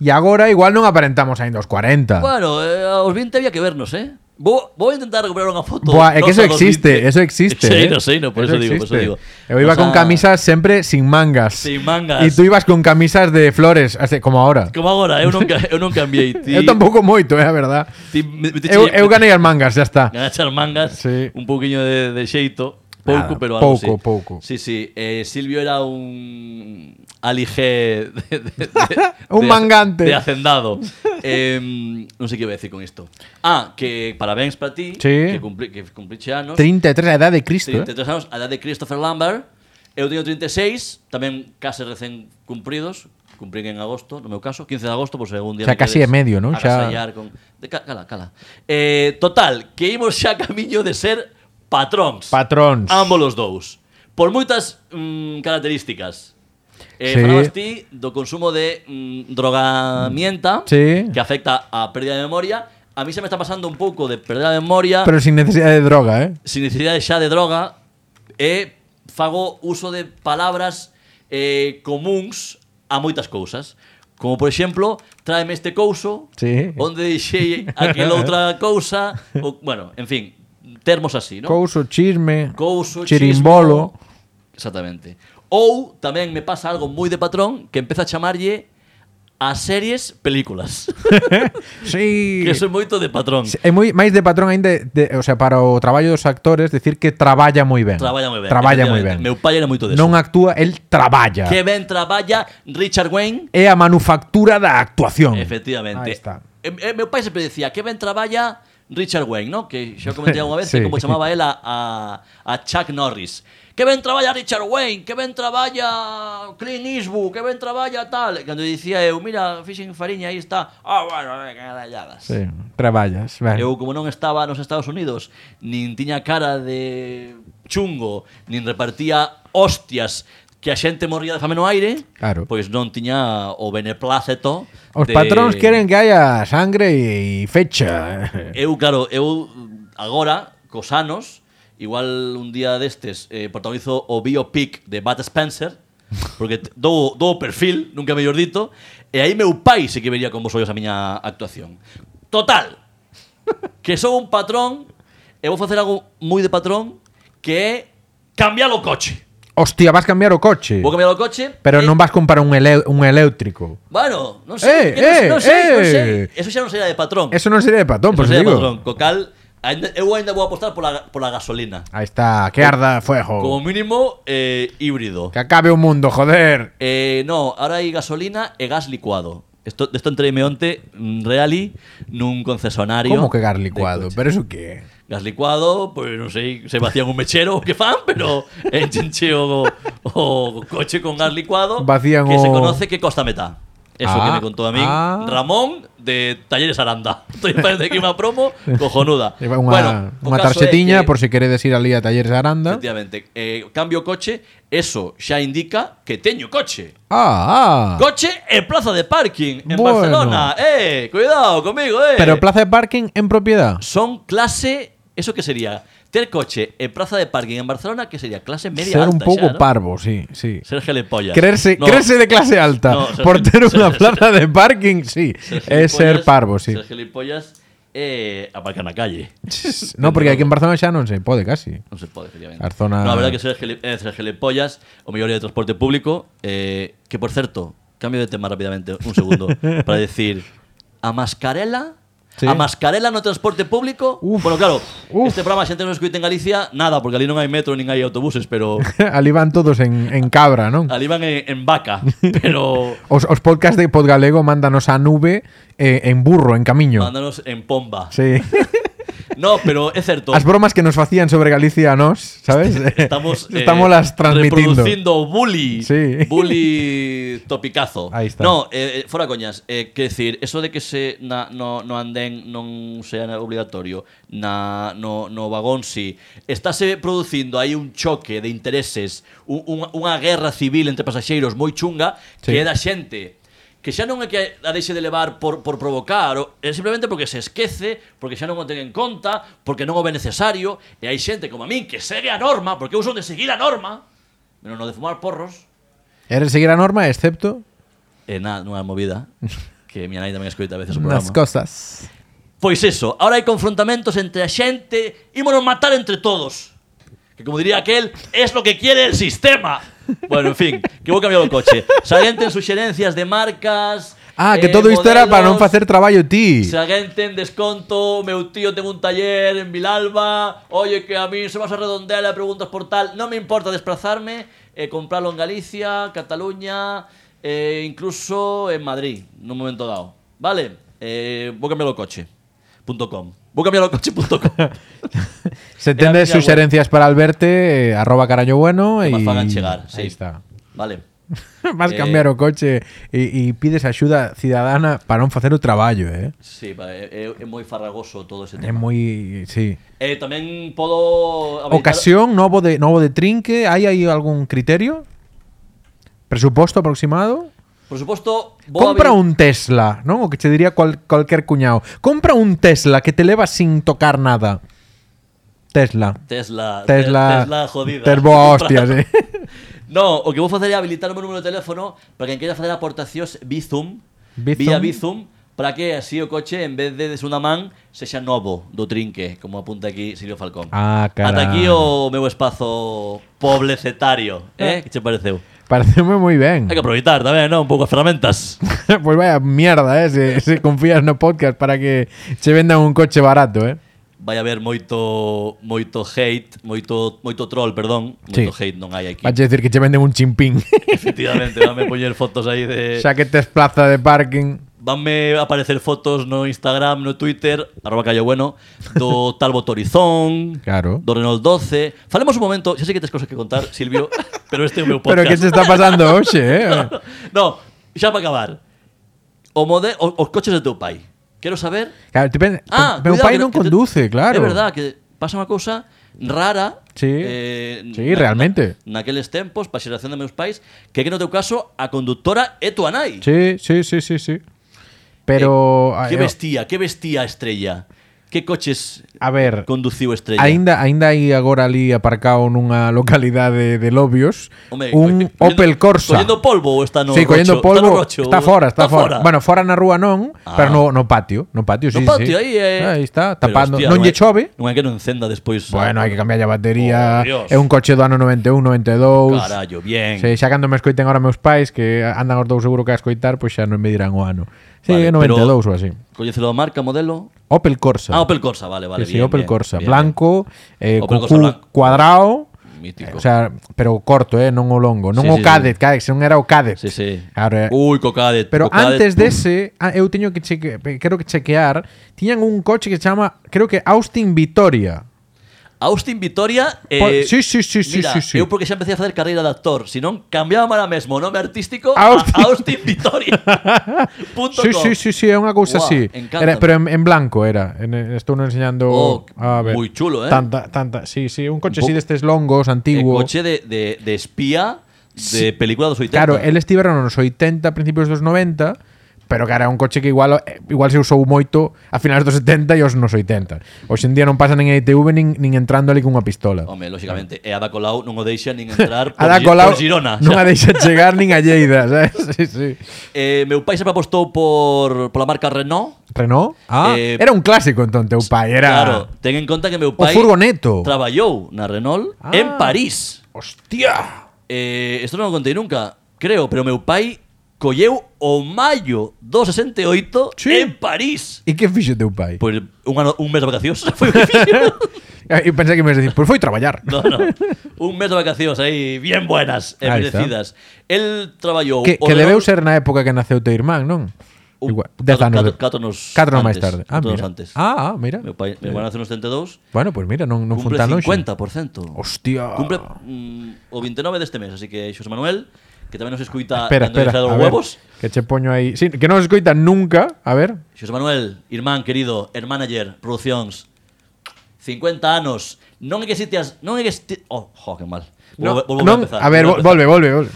[SPEAKER 1] E agora igual non aparentamos aínda os 40.
[SPEAKER 2] Bueno, eh, aos 20 había que vernos, eh? Vou, vou intentar recuperar unha foto.
[SPEAKER 1] Buah, é que eso
[SPEAKER 2] nosa dos
[SPEAKER 1] existe,
[SPEAKER 2] 20.
[SPEAKER 1] eso existe.
[SPEAKER 2] Sí,
[SPEAKER 1] eh.
[SPEAKER 2] no, sí, no, por eso, digo, por eso
[SPEAKER 1] existe.
[SPEAKER 2] digo.
[SPEAKER 1] Eu iba
[SPEAKER 2] O sea,
[SPEAKER 1] con camisas sempre sin mangas.
[SPEAKER 2] Sin mangas.
[SPEAKER 1] E tú ibas con camisas de flores, así, como ahora.
[SPEAKER 2] Como agora, eu non, ca- eu non cambiei. Ti,
[SPEAKER 1] Eu tampouco moito, é eh, a verdad.
[SPEAKER 2] Ti, me, me,
[SPEAKER 1] Eu, eu ganei as mangas, ya está.
[SPEAKER 2] Ganachar mangas,
[SPEAKER 1] Ah. Sí.
[SPEAKER 2] un pouquiño de, de xeito.
[SPEAKER 1] Nada,
[SPEAKER 2] Pouco, pero algo
[SPEAKER 1] pouco,
[SPEAKER 2] sí.
[SPEAKER 1] pouco.
[SPEAKER 2] Sí, sí. Eh, Silvio era un aligé de, de- de-
[SPEAKER 1] Un
[SPEAKER 2] de-
[SPEAKER 1] mangante.
[SPEAKER 2] De hacendado. eh, non sei que iba a decir con isto. Ah, que parabéns para ti,
[SPEAKER 1] Sí.
[SPEAKER 2] que, cumpli, que cumpliche anos.
[SPEAKER 1] 33 e a edade de Cristo. eh.
[SPEAKER 2] 33 anos, a edad de Christopher Lambert. Eu teño 36, tamén case recén cumpridos, cumprín en agosto, no meu caso, 15 de agosto, por se algún día
[SPEAKER 1] Xa
[SPEAKER 2] me
[SPEAKER 1] casi é
[SPEAKER 2] queres
[SPEAKER 1] medio, non? Xa-
[SPEAKER 2] agasallar con... De, ca- cala, cala. Eh, total, que imos xa camiño de ser patróns.
[SPEAKER 1] Patróns.
[SPEAKER 2] Ambos os dous. Por moitas mm, características. Eh,
[SPEAKER 1] Sí.
[SPEAKER 2] Falabas ti do consumo de mm, drogamienta
[SPEAKER 1] Sí.
[SPEAKER 2] que afecta a pérdida de memoria. A mí se me está pasando un pouco de pérdida de memoria
[SPEAKER 1] Pero sin necesidade de droga, eh?
[SPEAKER 2] sin necesidade xa de droga e fago uso de palabras eh, comuns a moitas cousas. Como, por exemplo, tráeme este couso,
[SPEAKER 1] Sí.
[SPEAKER 2] onde deixei aquela outra cousa, o, bueno, en fin, termos así, non?
[SPEAKER 1] Couso, chisme,
[SPEAKER 2] Couso,
[SPEAKER 1] chirimbolo.
[SPEAKER 2] chismo. Exactamente. Ou tamén me pasa algo moi de patrón que empeza a chamarlle as series películas.
[SPEAKER 1] Sí.
[SPEAKER 2] que soy moito de patrón.
[SPEAKER 1] É moi máis de patrón aínda, de, o sea, para o traballo dos actores decir que traballa moi ben.
[SPEAKER 2] Traballa moi ben.
[SPEAKER 1] Traballa moi ben.
[SPEAKER 2] efectivamente. Meu pai era moito de
[SPEAKER 1] Non actúa, el traballa.
[SPEAKER 2] Que ben traballa Richard Wayne.
[SPEAKER 1] É a manufactura da actuación.
[SPEAKER 2] Efectivamente.
[SPEAKER 1] Ahí está.
[SPEAKER 2] E, e, meu pai sempre decía que ben traballa Richard Wayne, ¿no? Que xa comentei unha vez
[SPEAKER 1] Sí.
[SPEAKER 2] que como chamaba ela a, a Chuck Norris. que ben traballa Richard Wayne, que ben traballa Clint Eastwood, que ben traballa tal. E cando dicía eu, mira, fixen fariña, aí está. Ah, bueno, eh, que galladas.
[SPEAKER 1] Sí, traballas, ben.
[SPEAKER 2] Eu, como non estaba nos Estados Unidos, nin tiña cara de chungo, nin repartía hostias que a xente morría de fame no aire,
[SPEAKER 1] Claro.
[SPEAKER 2] pois non tiña o beneplácito
[SPEAKER 1] Os
[SPEAKER 2] de-
[SPEAKER 1] patróns queren que haya sangre e, e fecha.
[SPEAKER 2] Eu, claro, eu agora, cos anos, igual un día destes eh, protagonizo o biopic de Bat Spencer, porque t- dou, dou o perfil, nunca mellor dito, e aí meu pai se que vería con vos ollos a miña actuación. Total, que son un patrón, e vou facer algo moi de patrón, que é cambiar o coche.
[SPEAKER 1] Hostia, vas cambiar o coche.
[SPEAKER 2] Vou cambiar o coche.
[SPEAKER 1] Pero
[SPEAKER 2] e-
[SPEAKER 1] non vas comprar un, elé- un eléctrico.
[SPEAKER 2] Bueno, non
[SPEAKER 1] Eh,
[SPEAKER 2] sei, que non,
[SPEAKER 1] eh,
[SPEAKER 2] non sei, non
[SPEAKER 1] eh.
[SPEAKER 2] sei. Eso xa non será de patrón.
[SPEAKER 1] Eso non sería de patón,
[SPEAKER 2] Eso
[SPEAKER 1] pois
[SPEAKER 2] será de
[SPEAKER 1] pues digo.
[SPEAKER 2] patrón. Co cal, eh, ainda- eu ainda vou apostar pola, pola gasolina.
[SPEAKER 1] Ahí está, que arda fuego.
[SPEAKER 2] Como mínimo, eh, híbrido.
[SPEAKER 1] Que acabe o mundo, joder.
[SPEAKER 2] Eh, no, ahora hay gasolina e gas licuado. Esto, de esto entreime onte mm, Reali nun concesionario.
[SPEAKER 1] Como que gas
[SPEAKER 2] de
[SPEAKER 1] licuado?
[SPEAKER 2] coches.
[SPEAKER 1] Pero eso que é?
[SPEAKER 2] Gas licuado, pues, pois non sei, se vacían un mechero o que fan, pero enchenche o, o coche con gas licuado
[SPEAKER 1] Vacían
[SPEAKER 2] que se
[SPEAKER 1] o-
[SPEAKER 2] conoce que costa metá. Eso
[SPEAKER 1] Ah,
[SPEAKER 2] que me contou a min
[SPEAKER 1] ah.
[SPEAKER 2] Ramón de Talleres Aranda. Estoy parece que unha promo cojonuda.
[SPEAKER 1] Lleva unha,
[SPEAKER 2] o
[SPEAKER 1] unha
[SPEAKER 2] caso é
[SPEAKER 1] tarxetiña
[SPEAKER 2] que-
[SPEAKER 1] por se queredes ir ali a Talleres Aranda.
[SPEAKER 2] Efectivamente. Eh, cambio coche, eso xa indica que teño coche.
[SPEAKER 1] Ah, ah.
[SPEAKER 2] Coche e plaza de parking en
[SPEAKER 1] Bueno.
[SPEAKER 2] Barcelona. Eh, cuidado conmigo, eh.
[SPEAKER 1] Pero plaza de parking en propiedad.
[SPEAKER 2] son clase, eso que sería ter coche e plaza de parking en Barcelona, que sería clase media
[SPEAKER 1] Ser
[SPEAKER 2] alta
[SPEAKER 1] un pouco
[SPEAKER 2] xa, ¿no?
[SPEAKER 1] parvo, sí, sí.
[SPEAKER 2] Ser gelepollas.
[SPEAKER 1] Creerse,
[SPEAKER 2] No,
[SPEAKER 1] creerse de clase alta
[SPEAKER 2] No, ser-
[SPEAKER 1] por ter
[SPEAKER 2] ser-
[SPEAKER 1] unha
[SPEAKER 2] ser-
[SPEAKER 1] plaza de parking, sí. Es ser
[SPEAKER 2] gilipollas-
[SPEAKER 1] parvo, sí.
[SPEAKER 2] Ser gelepollas eh, aparcar na calle.
[SPEAKER 1] No, porque aquí en Barcelona xa non se pode casi.
[SPEAKER 2] Non se pode, efectivamente.
[SPEAKER 1] As zonas-
[SPEAKER 2] No, a verdade que ser, gele, eh, ser gelepollas, o mellor é de transporte público, eh, que, por certo, cambio de tema rapidamente, un segundo, para decir, a mascarela...
[SPEAKER 1] Sí.
[SPEAKER 2] A mascarela no transporte público
[SPEAKER 1] Uf,
[SPEAKER 2] Bueno, claro,
[SPEAKER 1] uf.
[SPEAKER 2] este programa a xente non escuita en Galicia Nada, porque ali non hai metro nin hai autobuses Pero
[SPEAKER 1] ali van todos en, en cabra, non?
[SPEAKER 2] ali van en, en vaca Pero
[SPEAKER 1] Os, os podcast de Podgalego mándanos a nube eh, en burro, en camiño.
[SPEAKER 2] mándanos en pomba
[SPEAKER 1] Sí.
[SPEAKER 2] No, pero é certo
[SPEAKER 1] As bromas que nos facían sobre Galicia a nos, ¿sabes?
[SPEAKER 2] Estamos, eh,
[SPEAKER 1] Estamos las transmitiendo.
[SPEAKER 2] Reproduciendo bully.
[SPEAKER 1] Sí.
[SPEAKER 2] Bully topicazo.
[SPEAKER 1] Ahí está.
[SPEAKER 2] No, eh, eh, fora coñas. Eh, que decir, eso de que se na, no, no andén non sea obligatorio, na, no, no vagón si, estáse producindo aí un choque de intereses, un, un, unha guerra civil entre pasaxeiros moi chunga,
[SPEAKER 1] Sí.
[SPEAKER 2] que é da xente que xa non é que a deixe de levar por, por provocar, o- é simplemente porque se esquece, porque xa non o ten en conta, porque non o ve necesario, e hai xente como a min que segue a norma, porque eu son de seguir a norma, menos no de fumar porros,
[SPEAKER 1] Eres seguir a norma, excepto
[SPEAKER 2] e na, nunha movida, que miña nai tamén escoita a veces o
[SPEAKER 1] las
[SPEAKER 2] programa.
[SPEAKER 1] cosas.
[SPEAKER 2] Pois eso, ahora hai confrontamentos entre a xente, ímonos matar entre todos. Que como diría aquel, es lo que quiere el sistema. Bueno, en fin, que vou cambiar o coche. Salienten suxerencias de marcas,
[SPEAKER 1] Ah, que
[SPEAKER 2] eh,
[SPEAKER 1] todo isto era para non
[SPEAKER 2] modelos.
[SPEAKER 1] facer traballo ti.
[SPEAKER 2] Se alguén ten desconto, meu tío ten un taller en Vilalba, oye que a mí se vas a redondear e preguntas por tal, non me importa desplazarme, e comprarlo en Galicia, Cataluña, e incluso en Madrid, nun momento dado. Vale, eh, vou cambiar o coche. Punto .com. Vou cambiar o coche punto .com.
[SPEAKER 1] Se
[SPEAKER 2] Era
[SPEAKER 1] tendes
[SPEAKER 2] miña web.
[SPEAKER 1] suxerencias para Alberte, eh, arroba carallo bueno
[SPEAKER 2] Que
[SPEAKER 1] e
[SPEAKER 2] me fagan chegar, sí.
[SPEAKER 1] Aí está.
[SPEAKER 2] Vale.
[SPEAKER 1] Vas
[SPEAKER 2] Eh,
[SPEAKER 1] cambiar o coche e, e pides axuda cidadana para non facer o traballo, eh?
[SPEAKER 2] Sí, pa, é, é- é moi farragoso todo ese
[SPEAKER 1] É
[SPEAKER 2] tema.
[SPEAKER 1] moi, sí.
[SPEAKER 2] Eh, tamén podo habilitar-
[SPEAKER 1] Ocasión, novo de novo de trinque, hai aí algún criterio? Presuposto aproximado?
[SPEAKER 2] Por suposto, vou
[SPEAKER 1] Compra
[SPEAKER 2] habili-
[SPEAKER 1] un Tesla, non? O que che diría cual, cualquier cuñado. Compra un Tesla que te leva sin tocar nada. Tesla.
[SPEAKER 2] Tesla, te-
[SPEAKER 1] Tesla.
[SPEAKER 2] Tesla jodida.
[SPEAKER 1] Tes boa hostia, sí.
[SPEAKER 2] No, o que vou facer é habilitar o meu número de teléfono para quen queira facer aportacións Bizum,
[SPEAKER 1] Bizum?
[SPEAKER 2] vía Bizum, para que así o coche, en vez de de segunda man, sexa novo do trinque, como apunta aquí Silvio Falcón.
[SPEAKER 1] Ah, caray.
[SPEAKER 2] Ata aquí o meu espazo poblesetario, eh? Que che pareceu?
[SPEAKER 1] Pareceme moi ben.
[SPEAKER 2] Hai que aproveitar tamén, non? Un pouco as ferramentas.
[SPEAKER 1] Pois Pues vaya mierda, eh, se, se confías no podcast para que che vendan un coche barato, eh.
[SPEAKER 2] Vai haber moito moito hate, moito moito troll, perdón, moito
[SPEAKER 1] Sí.
[SPEAKER 2] hate non hai aquí.
[SPEAKER 1] Vas a decir que che venden un chimpín,
[SPEAKER 2] Efectivamente, vanme poñer fotos aí de
[SPEAKER 1] xa que tes plaza de parking.
[SPEAKER 2] vanme aparecer fotos no Instagram, no Twitter, arroba callo bueno, do Talbo Torizón,
[SPEAKER 1] Claro.
[SPEAKER 2] do Renault 12. Falemos un momento, xa sei que tes cosas que contar, Silvio, pero este é o meu
[SPEAKER 1] Pero
[SPEAKER 2] podcast.
[SPEAKER 1] que se está pasando hoxe, eh?
[SPEAKER 2] No, xa para acabar. O mode... o- os coches do teu pai. Quero saber...
[SPEAKER 1] Claro, ti pen-
[SPEAKER 2] Ah,
[SPEAKER 1] meu
[SPEAKER 2] cuidado,
[SPEAKER 1] pai
[SPEAKER 2] que-
[SPEAKER 1] non
[SPEAKER 2] que te-
[SPEAKER 1] conduce, claro.
[SPEAKER 2] É verdad que pasa unha cousa rara eh,
[SPEAKER 1] Sí. Sí, realmente.
[SPEAKER 2] Na, naqueles tempos, para a xeración de meus pais Que é que no teu caso a conductora é tua nai
[SPEAKER 1] Sí, sí, sí, sí,
[SPEAKER 2] Eh,
[SPEAKER 1] sí. Pero
[SPEAKER 2] Que
[SPEAKER 1] eh,
[SPEAKER 2] vestía, que vestía a estrella Que coches
[SPEAKER 1] a ver,
[SPEAKER 2] conduciu a estrella
[SPEAKER 1] Ainda ainda hai agora ali aparcado nunha localidade de Lobios
[SPEAKER 2] Home,
[SPEAKER 1] un
[SPEAKER 2] colle-
[SPEAKER 1] Opel Corsa.
[SPEAKER 2] Collendo polvo ou está no
[SPEAKER 1] sí, collendo
[SPEAKER 2] rocho? Está no
[SPEAKER 1] polvo.
[SPEAKER 2] rocho?
[SPEAKER 1] Está, fora, está, fora. Bueno, fora na rúa non,
[SPEAKER 2] Ah.
[SPEAKER 1] pero no, no patio, no patio, sí,
[SPEAKER 2] no patio
[SPEAKER 1] sí. Ah,
[SPEAKER 2] aí é...
[SPEAKER 1] Aí está,
[SPEAKER 2] eh. Pero,
[SPEAKER 1] tapando.
[SPEAKER 2] hostia,
[SPEAKER 1] non lle
[SPEAKER 2] é-
[SPEAKER 1] chove.
[SPEAKER 2] Non é que non encenda despois.
[SPEAKER 1] Bueno, hai que cambiar a
[SPEAKER 2] Oh,
[SPEAKER 1] batería.
[SPEAKER 2] Dios.
[SPEAKER 1] é un coche do ano 91, 92.
[SPEAKER 2] Carallo, bien.
[SPEAKER 1] Sí, xa cando me escoiten agora meus pais que andan os dous seguro que a escoitar, pois xa non me dirán o ano. Sí, é
[SPEAKER 2] Vale,
[SPEAKER 1] 92 ou así.
[SPEAKER 2] Coñecelo a marca, modelo.
[SPEAKER 1] Opel Corsa.
[SPEAKER 2] Ah, Opel Corsa, vale, vale.
[SPEAKER 1] sí, sí,
[SPEAKER 2] bien,
[SPEAKER 1] Opel
[SPEAKER 2] bien,
[SPEAKER 1] Corsa,
[SPEAKER 2] bien,
[SPEAKER 1] blanco, eh,
[SPEAKER 2] Opel
[SPEAKER 1] co
[SPEAKER 2] Corsa
[SPEAKER 1] cu
[SPEAKER 2] blanco.
[SPEAKER 1] cuadrado,
[SPEAKER 2] bien. Mítico.
[SPEAKER 1] o sea, pero corto, eh, non o longo, non
[SPEAKER 2] Sí,
[SPEAKER 1] o
[SPEAKER 2] sí,
[SPEAKER 1] Cadet, Cadet, non era o Cadet.
[SPEAKER 2] sí, sí.
[SPEAKER 1] Claro, eh.
[SPEAKER 2] Ui, Cocade.
[SPEAKER 1] Pero
[SPEAKER 2] Cocade,
[SPEAKER 1] antes
[SPEAKER 2] pum.
[SPEAKER 1] dese, ah, eu teño que cheque, creo que chequear, tiñan un coche que se chama, creo que Austin Vitoria.
[SPEAKER 2] Austin Vitoria. Eh,
[SPEAKER 1] Pol- Pues, sí, sí, sí, sí,
[SPEAKER 2] mira,
[SPEAKER 1] sí, sí.
[SPEAKER 2] Eu porque xa empecé a facer carreira de actor, si non cambiaba ahora mesmo o nome artístico
[SPEAKER 1] Austin.
[SPEAKER 2] a Austin Vitoria. Punto
[SPEAKER 1] Sí,
[SPEAKER 2] com.
[SPEAKER 1] sí, sí, sí, é unha cousa
[SPEAKER 2] Guau,
[SPEAKER 1] así.
[SPEAKER 2] encántame.
[SPEAKER 1] Era- pero en, en blanco era. En, estou non enseñando
[SPEAKER 2] Oh,
[SPEAKER 1] a ver.
[SPEAKER 2] moi chulo, eh.
[SPEAKER 1] Tanta, tanta, sí, sí, un coche
[SPEAKER 2] Bu-
[SPEAKER 1] así destes longos,
[SPEAKER 2] Eh,
[SPEAKER 1] antiguo.
[SPEAKER 2] coche de, de, de espía de película dos 80.
[SPEAKER 1] Claro, el estiveron nos 80, principios dos 90, pero cara, é un coche que igual eh, igual se usou moito a finales dos 70 e os nos 80. Hoxe en día non pasa nin a ITV nin, nin entrando ali cunha pistola.
[SPEAKER 2] Home, lógicamente, e Ada Colau non o deixa nin entrar por,
[SPEAKER 1] a da
[SPEAKER 2] Gi-
[SPEAKER 1] Colau
[SPEAKER 2] por Girona.
[SPEAKER 1] non a
[SPEAKER 2] xa.
[SPEAKER 1] deixa chegar nin a Lleida, sabes? Sí, sí.
[SPEAKER 2] Eh, meu pai sempre apostou por pola marca Renault.
[SPEAKER 1] Renault? Ah,
[SPEAKER 2] Eh,
[SPEAKER 1] era un clásico entón teu pai, era
[SPEAKER 2] Claro, ten en conta que
[SPEAKER 1] o
[SPEAKER 2] meu pai
[SPEAKER 1] furgoneto.
[SPEAKER 2] traballou na Renault
[SPEAKER 1] Ah.
[SPEAKER 2] en París.
[SPEAKER 1] Hostia.
[SPEAKER 2] Eh, esto non o contei nunca, creo, pero meu pai colleu o maio do 68
[SPEAKER 1] Sí.
[SPEAKER 2] en París.
[SPEAKER 1] E que fixo teu pai?
[SPEAKER 2] Pois un, ano, un mes de vacacións foi o que fixo.
[SPEAKER 1] E pensei que me ibas a decir, pois foi traballar.
[SPEAKER 2] No, no. Un mes de vacacións aí bien buenas e
[SPEAKER 1] Ahí está.
[SPEAKER 2] merecidas. El traballou
[SPEAKER 1] que,
[SPEAKER 2] o
[SPEAKER 1] que debeu
[SPEAKER 2] Renault-
[SPEAKER 1] ser na época que naceu teu irmán, non?
[SPEAKER 2] Un-
[SPEAKER 1] Igual, 10
[SPEAKER 2] catro-
[SPEAKER 1] anos.
[SPEAKER 2] catro-
[SPEAKER 1] de-
[SPEAKER 2] catro anos
[SPEAKER 1] catro anos máis
[SPEAKER 2] antes,
[SPEAKER 1] tarde. Ah,
[SPEAKER 2] catro
[SPEAKER 1] mira.
[SPEAKER 2] anos antes.
[SPEAKER 1] Ah, ah, mira.
[SPEAKER 2] Meu pai, meu irmán nace nos 32,
[SPEAKER 1] Bueno, pois mira, non, non fun
[SPEAKER 2] cumple
[SPEAKER 1] tan longe.
[SPEAKER 2] 50%.
[SPEAKER 1] Hostia.
[SPEAKER 2] Cumple mm, o 29 deste mes, así que Xosé Manuel, que tamén nos escuita
[SPEAKER 1] espera,
[SPEAKER 2] cando
[SPEAKER 1] espera. a
[SPEAKER 2] lle os
[SPEAKER 1] ver,
[SPEAKER 2] huevos.
[SPEAKER 1] que che poño aí. Sí, que non os escoitan nunca. A ver.
[SPEAKER 2] Xosé Manuel, irmán querido, hermanager, producións, 50 anos, non é que si te has... Non é que si te... Oh, jo, que mal. Volvo, volvo
[SPEAKER 1] non,
[SPEAKER 2] a empezar.
[SPEAKER 1] ver,
[SPEAKER 2] volvo
[SPEAKER 1] volve, volve, volve.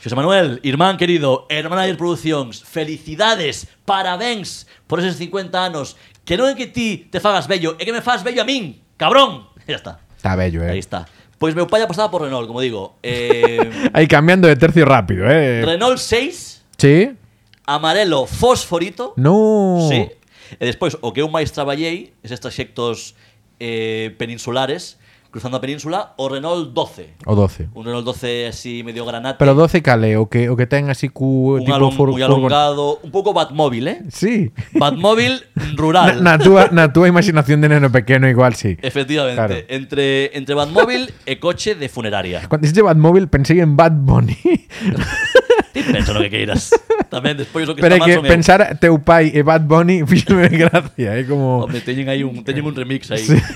[SPEAKER 2] Xosé Manuel, irmán querido, Hermanager Produccións, felicidades, parabéns por esos 50 anos. Que non é que ti te fagas bello, é que me fas bello a min, cabrón. Ya está,
[SPEAKER 1] Está bello, eh.
[SPEAKER 2] aí está. Pues Pois meu pai apostaba por Renault, como digo. Eh,
[SPEAKER 1] Aí cambiando de tercio rápido, eh.
[SPEAKER 2] Renault 6,
[SPEAKER 1] Sí.
[SPEAKER 2] amarelo fosforito.
[SPEAKER 1] No.
[SPEAKER 2] Sí. E despois, o que eu máis traballei, eses traxectos eh, peninsulares, cruzando a península, o Renault 12.
[SPEAKER 1] O 12.
[SPEAKER 2] Un Renault 12 así medio granate.
[SPEAKER 1] Pero 12 cale, o que o que ten así cu
[SPEAKER 2] un
[SPEAKER 1] tipo
[SPEAKER 2] alon-
[SPEAKER 1] fur-
[SPEAKER 2] moi
[SPEAKER 1] furgon-
[SPEAKER 2] alongado, un pouco Batmóvil, eh?
[SPEAKER 1] Sí.
[SPEAKER 2] Batmóvil
[SPEAKER 1] Na,
[SPEAKER 2] rural.
[SPEAKER 1] na túa, na túa imaginación de neno pequeno igual sí.
[SPEAKER 2] Efectivamente,
[SPEAKER 1] Claro.
[SPEAKER 2] entre, entre Batmóvil e coche de funeraria.
[SPEAKER 1] Cando dixiste Batmóvil pensei en Bad Bunny.
[SPEAKER 2] Ti pensa no que queiras. Tamén despois o que
[SPEAKER 1] Pero é
[SPEAKER 2] está
[SPEAKER 1] que
[SPEAKER 2] mal son eu.
[SPEAKER 1] pensar teu pai e Bad Bunny fíxome gracia, é como
[SPEAKER 2] Hombre, teñen aí un, teñen un remix aí.
[SPEAKER 1] Sí.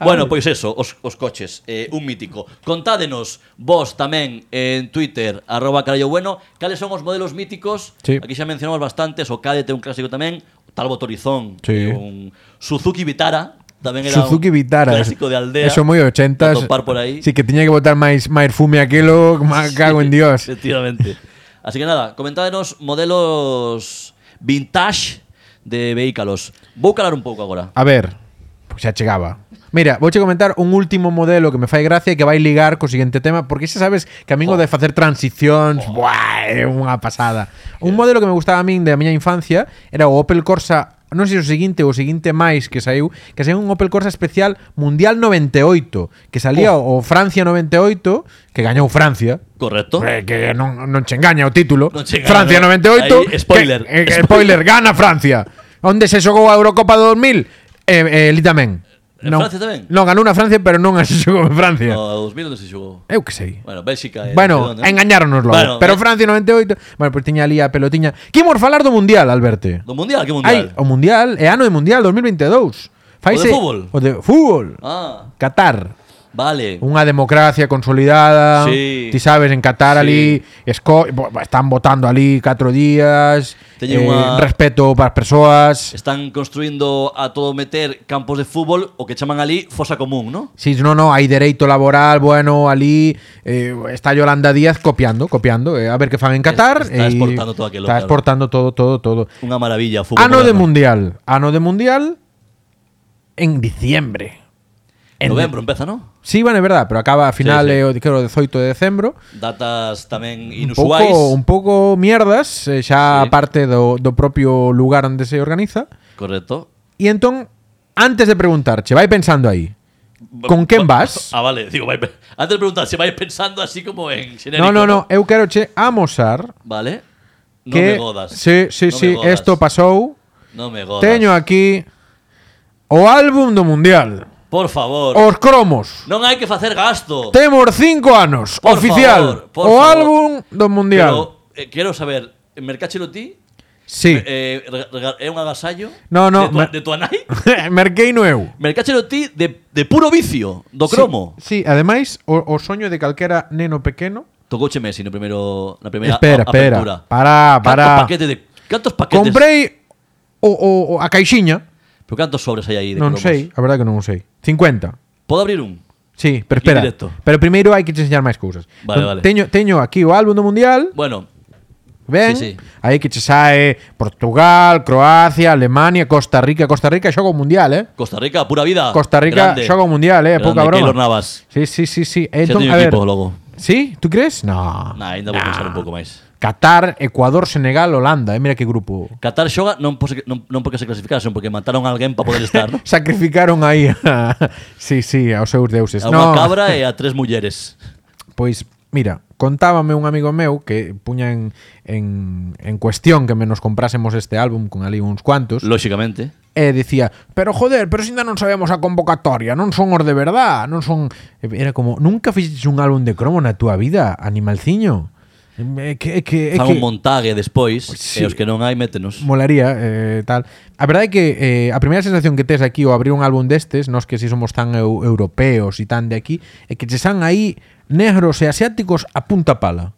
[SPEAKER 2] bueno, pois eso, os, os coches, eh, un mítico. Contádenos vos tamén en Twitter, arroba carallo bueno, cales son os modelos míticos.
[SPEAKER 1] Sí.
[SPEAKER 2] Aquí xa mencionamos bastantes, o Cadete é un clásico tamén, o Talbot Horizon,
[SPEAKER 1] Sí.
[SPEAKER 2] é un Suzuki Vitara, tamén era
[SPEAKER 1] Suzuki
[SPEAKER 2] un
[SPEAKER 1] Vitara.
[SPEAKER 2] clásico de aldea.
[SPEAKER 1] Eso moi 80
[SPEAKER 2] de topar por aí.
[SPEAKER 1] Sí que tiña que botar máis máis fume aquilo, má, cago en Dios.
[SPEAKER 2] Efectivamente. Así que nada, comentádenos modelos vintage de vehículos. Vou calar un pouco agora.
[SPEAKER 1] A ver, pois xa chegaba. Mira, vouche comentar un último modelo que me fai gracia e que vai ligar co seguinte tema, porque xa sabes que a min o de facer transicións, buah, é unha pasada. Un modelo que me gustaba a min da miña infancia era o Opel Corsa Non sei se o seguinte ou o seguinte máis que saiu Que saiu un Opel Corsa especial Mundial 98 Que salía o Francia 98 Que gañou Francia
[SPEAKER 2] Correcto?
[SPEAKER 1] Eh, que non, non che engaña o título.
[SPEAKER 2] Non che engaña,
[SPEAKER 1] Francia
[SPEAKER 2] non.
[SPEAKER 1] 98.
[SPEAKER 2] Aí, spoiler.
[SPEAKER 1] que- eh, que spoiler, gana Francia. Onde se xogou a Eurocopa do 2000? Eh, eh, Elí tamén.
[SPEAKER 2] En
[SPEAKER 1] non.
[SPEAKER 2] Francia tamén?
[SPEAKER 1] Non, ganou na Francia, pero non se xogou en Francia.
[SPEAKER 2] No, 2000 onde se xogou?
[SPEAKER 1] Eu que sei.
[SPEAKER 2] Bueno, Bélxica e
[SPEAKER 1] Bueno,
[SPEAKER 2] perdón, eh?
[SPEAKER 1] engañáronoslo.
[SPEAKER 2] Bueno,
[SPEAKER 1] pero
[SPEAKER 2] eh,
[SPEAKER 1] Francia 98, bueno, pois tiña ali a pelotiña. Que imos falar do Mundial, Alberto?
[SPEAKER 2] Do Mundial, que
[SPEAKER 1] Ai,
[SPEAKER 2] Mundial?
[SPEAKER 1] o Mundial, é ano de Mundial 2022. Faise,
[SPEAKER 2] fútbol?
[SPEAKER 1] O de fútbol.
[SPEAKER 2] Ah,
[SPEAKER 1] Qatar.
[SPEAKER 2] vale.
[SPEAKER 1] Unha democracia consolidada.
[SPEAKER 2] Sí.
[SPEAKER 1] Ti sabes, en Qatar
[SPEAKER 2] Sí.
[SPEAKER 1] ali esco, bo- están votando ali catro días. eh,
[SPEAKER 2] Teñen unha-
[SPEAKER 1] Respeto para as persoas.
[SPEAKER 2] Están construindo a todo meter campos de fútbol o que chaman ali fosa común, ¿no?
[SPEAKER 1] Si, no, no, hai dereito laboral, bueno, ali eh, está Yolanda Díaz copiando, copiando, eh, a ver que fan en Qatar. e
[SPEAKER 2] Está- está exportando todo aquilo,
[SPEAKER 1] Está
[SPEAKER 2] claro.
[SPEAKER 1] exportando todo, todo, todo.
[SPEAKER 2] Unha maravilla o fútbol.
[SPEAKER 1] Ano Ah, de
[SPEAKER 2] moderno.
[SPEAKER 1] Mundial, ano de Mundial en diciembre. En
[SPEAKER 2] Novembro empeza, ¿no?
[SPEAKER 1] Sí, bueno, é verdad, pero acaba a final
[SPEAKER 2] Sí, sí.
[SPEAKER 1] eh, o creo, 18 de decembro.
[SPEAKER 2] Datas tamén
[SPEAKER 1] Un pouco,
[SPEAKER 2] inusuais.
[SPEAKER 1] un pouco mierdas, eh, xa
[SPEAKER 2] Sí.
[SPEAKER 1] parte do, do propio lugar onde se organiza.
[SPEAKER 2] Correcto.
[SPEAKER 1] E entón, antes de preguntarche, vai pensando aí. Con quen vas?
[SPEAKER 2] Ah, vale, digo, vai, antes de preguntar, se vais pensando así como en genérico.
[SPEAKER 1] No, no, no, eu quero che amosar
[SPEAKER 2] Vale. No
[SPEAKER 1] que
[SPEAKER 2] me godas.
[SPEAKER 1] Sí, sí,
[SPEAKER 2] No me
[SPEAKER 1] sí,
[SPEAKER 2] godas.
[SPEAKER 1] esto pasou.
[SPEAKER 2] No me godas.
[SPEAKER 1] Teño aquí o álbum do mundial.
[SPEAKER 2] Por favor.
[SPEAKER 1] Os cromos.
[SPEAKER 2] Non hai que facer gasto.
[SPEAKER 1] Temos cinco anos,
[SPEAKER 2] Por
[SPEAKER 1] oficial.
[SPEAKER 2] favor, por
[SPEAKER 1] o
[SPEAKER 2] favor.
[SPEAKER 1] álbum do mundial.
[SPEAKER 2] Pero eh, quero saber, mercáchelo ti?
[SPEAKER 1] sí.
[SPEAKER 2] Eh, rega- rega- é un agasallo?
[SPEAKER 1] No, no,
[SPEAKER 2] De tua,
[SPEAKER 1] me-
[SPEAKER 2] de tua nai?
[SPEAKER 1] Merquei no eu.
[SPEAKER 2] Mercáchelo ti de, de puro vicio, do cromo.
[SPEAKER 1] Sí, sí, ademais o, o soño de calquera neno pequeno.
[SPEAKER 2] Tocouche Messi no primeiro, na primeira
[SPEAKER 1] espera,
[SPEAKER 2] a- apertura.
[SPEAKER 1] espera. Para,
[SPEAKER 2] Cantos
[SPEAKER 1] para.
[SPEAKER 2] paquetes de cantos paquetes?
[SPEAKER 1] Comprei o, o, o- a caixiña.
[SPEAKER 2] Pero cantos sobres hai aí de
[SPEAKER 1] Non
[SPEAKER 2] cromos?
[SPEAKER 1] sei, a verdade que non o sei. 50.
[SPEAKER 2] Podo abrir un?
[SPEAKER 1] Sí, pero espera.
[SPEAKER 2] Indirecto.
[SPEAKER 1] Pero primeiro hai que che enseñar máis cousas.
[SPEAKER 2] Vale,
[SPEAKER 1] Entón,
[SPEAKER 2] vale.
[SPEAKER 1] Teño, teño aquí o álbum do mundial.
[SPEAKER 2] Bueno,
[SPEAKER 1] Ben,
[SPEAKER 2] Sí, sí.
[SPEAKER 1] aí que che sae Portugal, Croacia, Alemania, Costa Rica, Costa Rica xoga o mundial, eh?
[SPEAKER 2] Costa Rica, pura vida.
[SPEAKER 1] Costa Rica
[SPEAKER 2] Grande.
[SPEAKER 1] xoga o mundial, eh?
[SPEAKER 2] Grande,
[SPEAKER 1] Pouca broma.
[SPEAKER 2] Keylor Navas.
[SPEAKER 1] Sí, sí, sí, sí.
[SPEAKER 2] Xa
[SPEAKER 1] Entón,
[SPEAKER 2] teño
[SPEAKER 1] a ver.
[SPEAKER 2] equipo logo.
[SPEAKER 1] Sí, tú crees? No.
[SPEAKER 2] Nah, ainda vou pensar un pouco máis.
[SPEAKER 1] Qatar, Ecuador, Senegal, Holanda, eh? Mira que grupo.
[SPEAKER 2] Qatar xoga non, pose, non, non porque se clasificasen, porque mataron a alguén para poder estar, ¿no?
[SPEAKER 1] Sacrificaron aí a... Sí, sí, aos seus deuses.
[SPEAKER 2] A unha
[SPEAKER 1] No.
[SPEAKER 2] cabra e a tres mulleres.
[SPEAKER 1] Pois, mira, contábame un amigo meu que puña en, en, en cuestión que menos comprásemos este álbum con ali uns cuantos.
[SPEAKER 2] Lóxicamente.
[SPEAKER 1] e dicía, pero joder, pero se ainda non sabemos a convocatoria, non son os de verdad, non son... E Era como, nunca fixes un álbum de cromo na túa vida, animalciño. É que, é que, é
[SPEAKER 2] Fan
[SPEAKER 1] que
[SPEAKER 2] un montague despois,
[SPEAKER 1] Sí.
[SPEAKER 2] e os que non hai, métenos.
[SPEAKER 1] molaría, eh, tal. A verdade é que eh, a primeira sensación que tes aquí ao abrir un álbum destes, nós que si somos tan eu europeos e tan de aquí, é que che san aí negros e asiáticos a punta pala.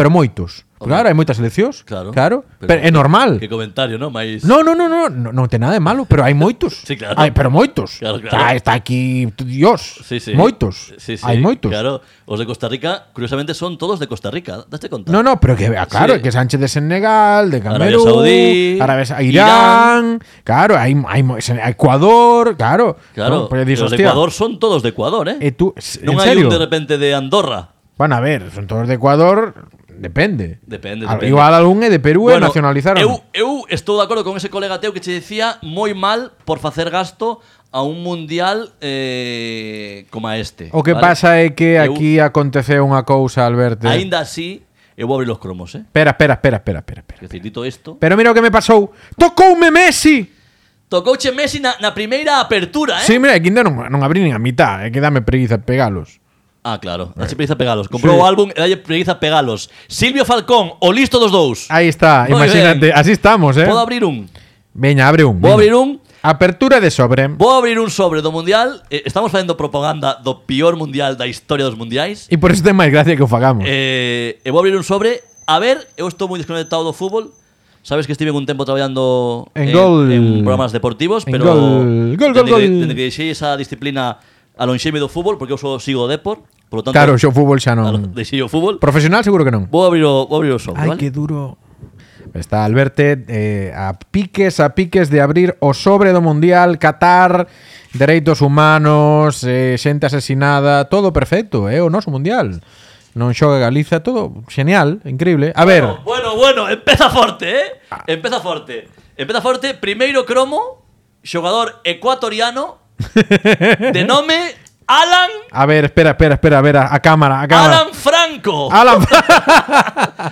[SPEAKER 1] Pero moitos. Porque ahora
[SPEAKER 2] Hombre.
[SPEAKER 1] hai moitas eleccións,
[SPEAKER 2] Claro.
[SPEAKER 1] claro pero,
[SPEAKER 2] Pero-
[SPEAKER 1] é normal.
[SPEAKER 2] Que comentario, non? Mais...
[SPEAKER 1] No, no, no, no, no, non ten nada de malo, pero hai moitos.
[SPEAKER 2] Sí, claro.
[SPEAKER 1] Hai, pero moitos.
[SPEAKER 2] Claro, claro.
[SPEAKER 1] Está, está aquí Dios.
[SPEAKER 2] Sí, sí.
[SPEAKER 1] Moitos.
[SPEAKER 2] Sí, sí.
[SPEAKER 1] Hai moitos.
[SPEAKER 2] Claro, os de Costa Rica, curiosamente, son todos de Costa Rica. Daste conta?
[SPEAKER 1] No, no, pero que ah, claro,
[SPEAKER 2] Sí.
[SPEAKER 1] que Sánchez de Senegal, de
[SPEAKER 2] Arabia
[SPEAKER 1] Camerún,
[SPEAKER 2] Saudí,
[SPEAKER 1] Arabia Sa- Irán,
[SPEAKER 2] Irán.
[SPEAKER 1] claro, hai hai mo- Sen- Ecuador, claro. No,
[SPEAKER 2] Claro,
[SPEAKER 1] pero dis,
[SPEAKER 2] os de
[SPEAKER 1] hostia,
[SPEAKER 2] Ecuador son todos de Ecuador, eh?
[SPEAKER 1] E tú, s-
[SPEAKER 2] non
[SPEAKER 1] en
[SPEAKER 2] hai
[SPEAKER 1] serio?
[SPEAKER 2] un de repente de Andorra.
[SPEAKER 1] Bueno, a ver, son todos de Ecuador, depende.
[SPEAKER 2] Depende,
[SPEAKER 1] Al-
[SPEAKER 2] depende.
[SPEAKER 1] Igual algún é de Perú e nacionalizaron.
[SPEAKER 2] Eu, eu estou de acordo con ese colega teu que che decía moi mal por facer gasto a un mundial eh, como a este.
[SPEAKER 1] O que
[SPEAKER 2] vale?
[SPEAKER 1] pasa é que
[SPEAKER 2] Eu-
[SPEAKER 1] aquí aconteceu unha cousa, Alberto.
[SPEAKER 2] Ainda así, eu vou abrir los cromos, eh?
[SPEAKER 1] eh. Espera, espera, espera, espera, espera, espera.
[SPEAKER 2] Que decir, dito isto...
[SPEAKER 1] Pero mira o que me pasou. Tocoume Messi.
[SPEAKER 2] Tocouche Messi na, na primeira apertura, eh?
[SPEAKER 1] Sí, mira, é que ainda non, non abrí nin a mitad, é que dame preguiza pegalos.
[SPEAKER 2] Ah, claro. Dalle preguiza pegalos. Comprou
[SPEAKER 1] Sí.
[SPEAKER 2] o álbum e dalle preguiza pegalos. Silvio Falcón, o listo dos dous.
[SPEAKER 1] Aí está,
[SPEAKER 2] Moi
[SPEAKER 1] imagínate,
[SPEAKER 2] ben.
[SPEAKER 1] así estamos, eh.
[SPEAKER 2] Podo abrir un.
[SPEAKER 1] Veña, abre un. veña.
[SPEAKER 2] Vou abrir un.
[SPEAKER 1] Apertura de sobre.
[SPEAKER 2] Vou abrir un sobre do Mundial. Eh, estamos facendo propaganda do peor Mundial da historia dos Mundiais.
[SPEAKER 1] E por iso ten máis gracia que o fagamos.
[SPEAKER 2] Eh, e vou abrir un sobre. A ver, eu estou moi desconectado do fútbol. Sabes que estive un tempo traballando
[SPEAKER 1] En gol.
[SPEAKER 2] en programas deportivos,
[SPEAKER 1] En
[SPEAKER 2] pero
[SPEAKER 1] gol. Gol, gol,
[SPEAKER 2] dende que-
[SPEAKER 1] gol.
[SPEAKER 2] dende que deixei esa disciplina alonxeime do fútbol, porque eu só sigo o Depor, por lo tanto,
[SPEAKER 1] claro, xo fútbol xa
[SPEAKER 2] alo-
[SPEAKER 1] non.
[SPEAKER 2] deixei o fútbol.
[SPEAKER 1] Profesional seguro que non.
[SPEAKER 2] Vou abrir o, vou abrir o sobre,
[SPEAKER 1] Ai,
[SPEAKER 2] vale?
[SPEAKER 1] que duro. Está Alberto eh, a piques, a piques de abrir o sobre do Mundial, Qatar, dereitos humanos, eh, xente asesinada, todo perfecto, é eh, o noso Mundial. Non xoga Galiza, todo genial, increíble. A ver,
[SPEAKER 2] Bueno, bueno, bueno, empeza forte, eh? Empeza forte. Empeza forte, primeiro cromo, xogador ecuatoriano, de nome Alan,
[SPEAKER 1] a ver, espera, espera, espera, a ver, a, a cámara, a cámara.
[SPEAKER 2] Alan Franco.
[SPEAKER 1] Alan,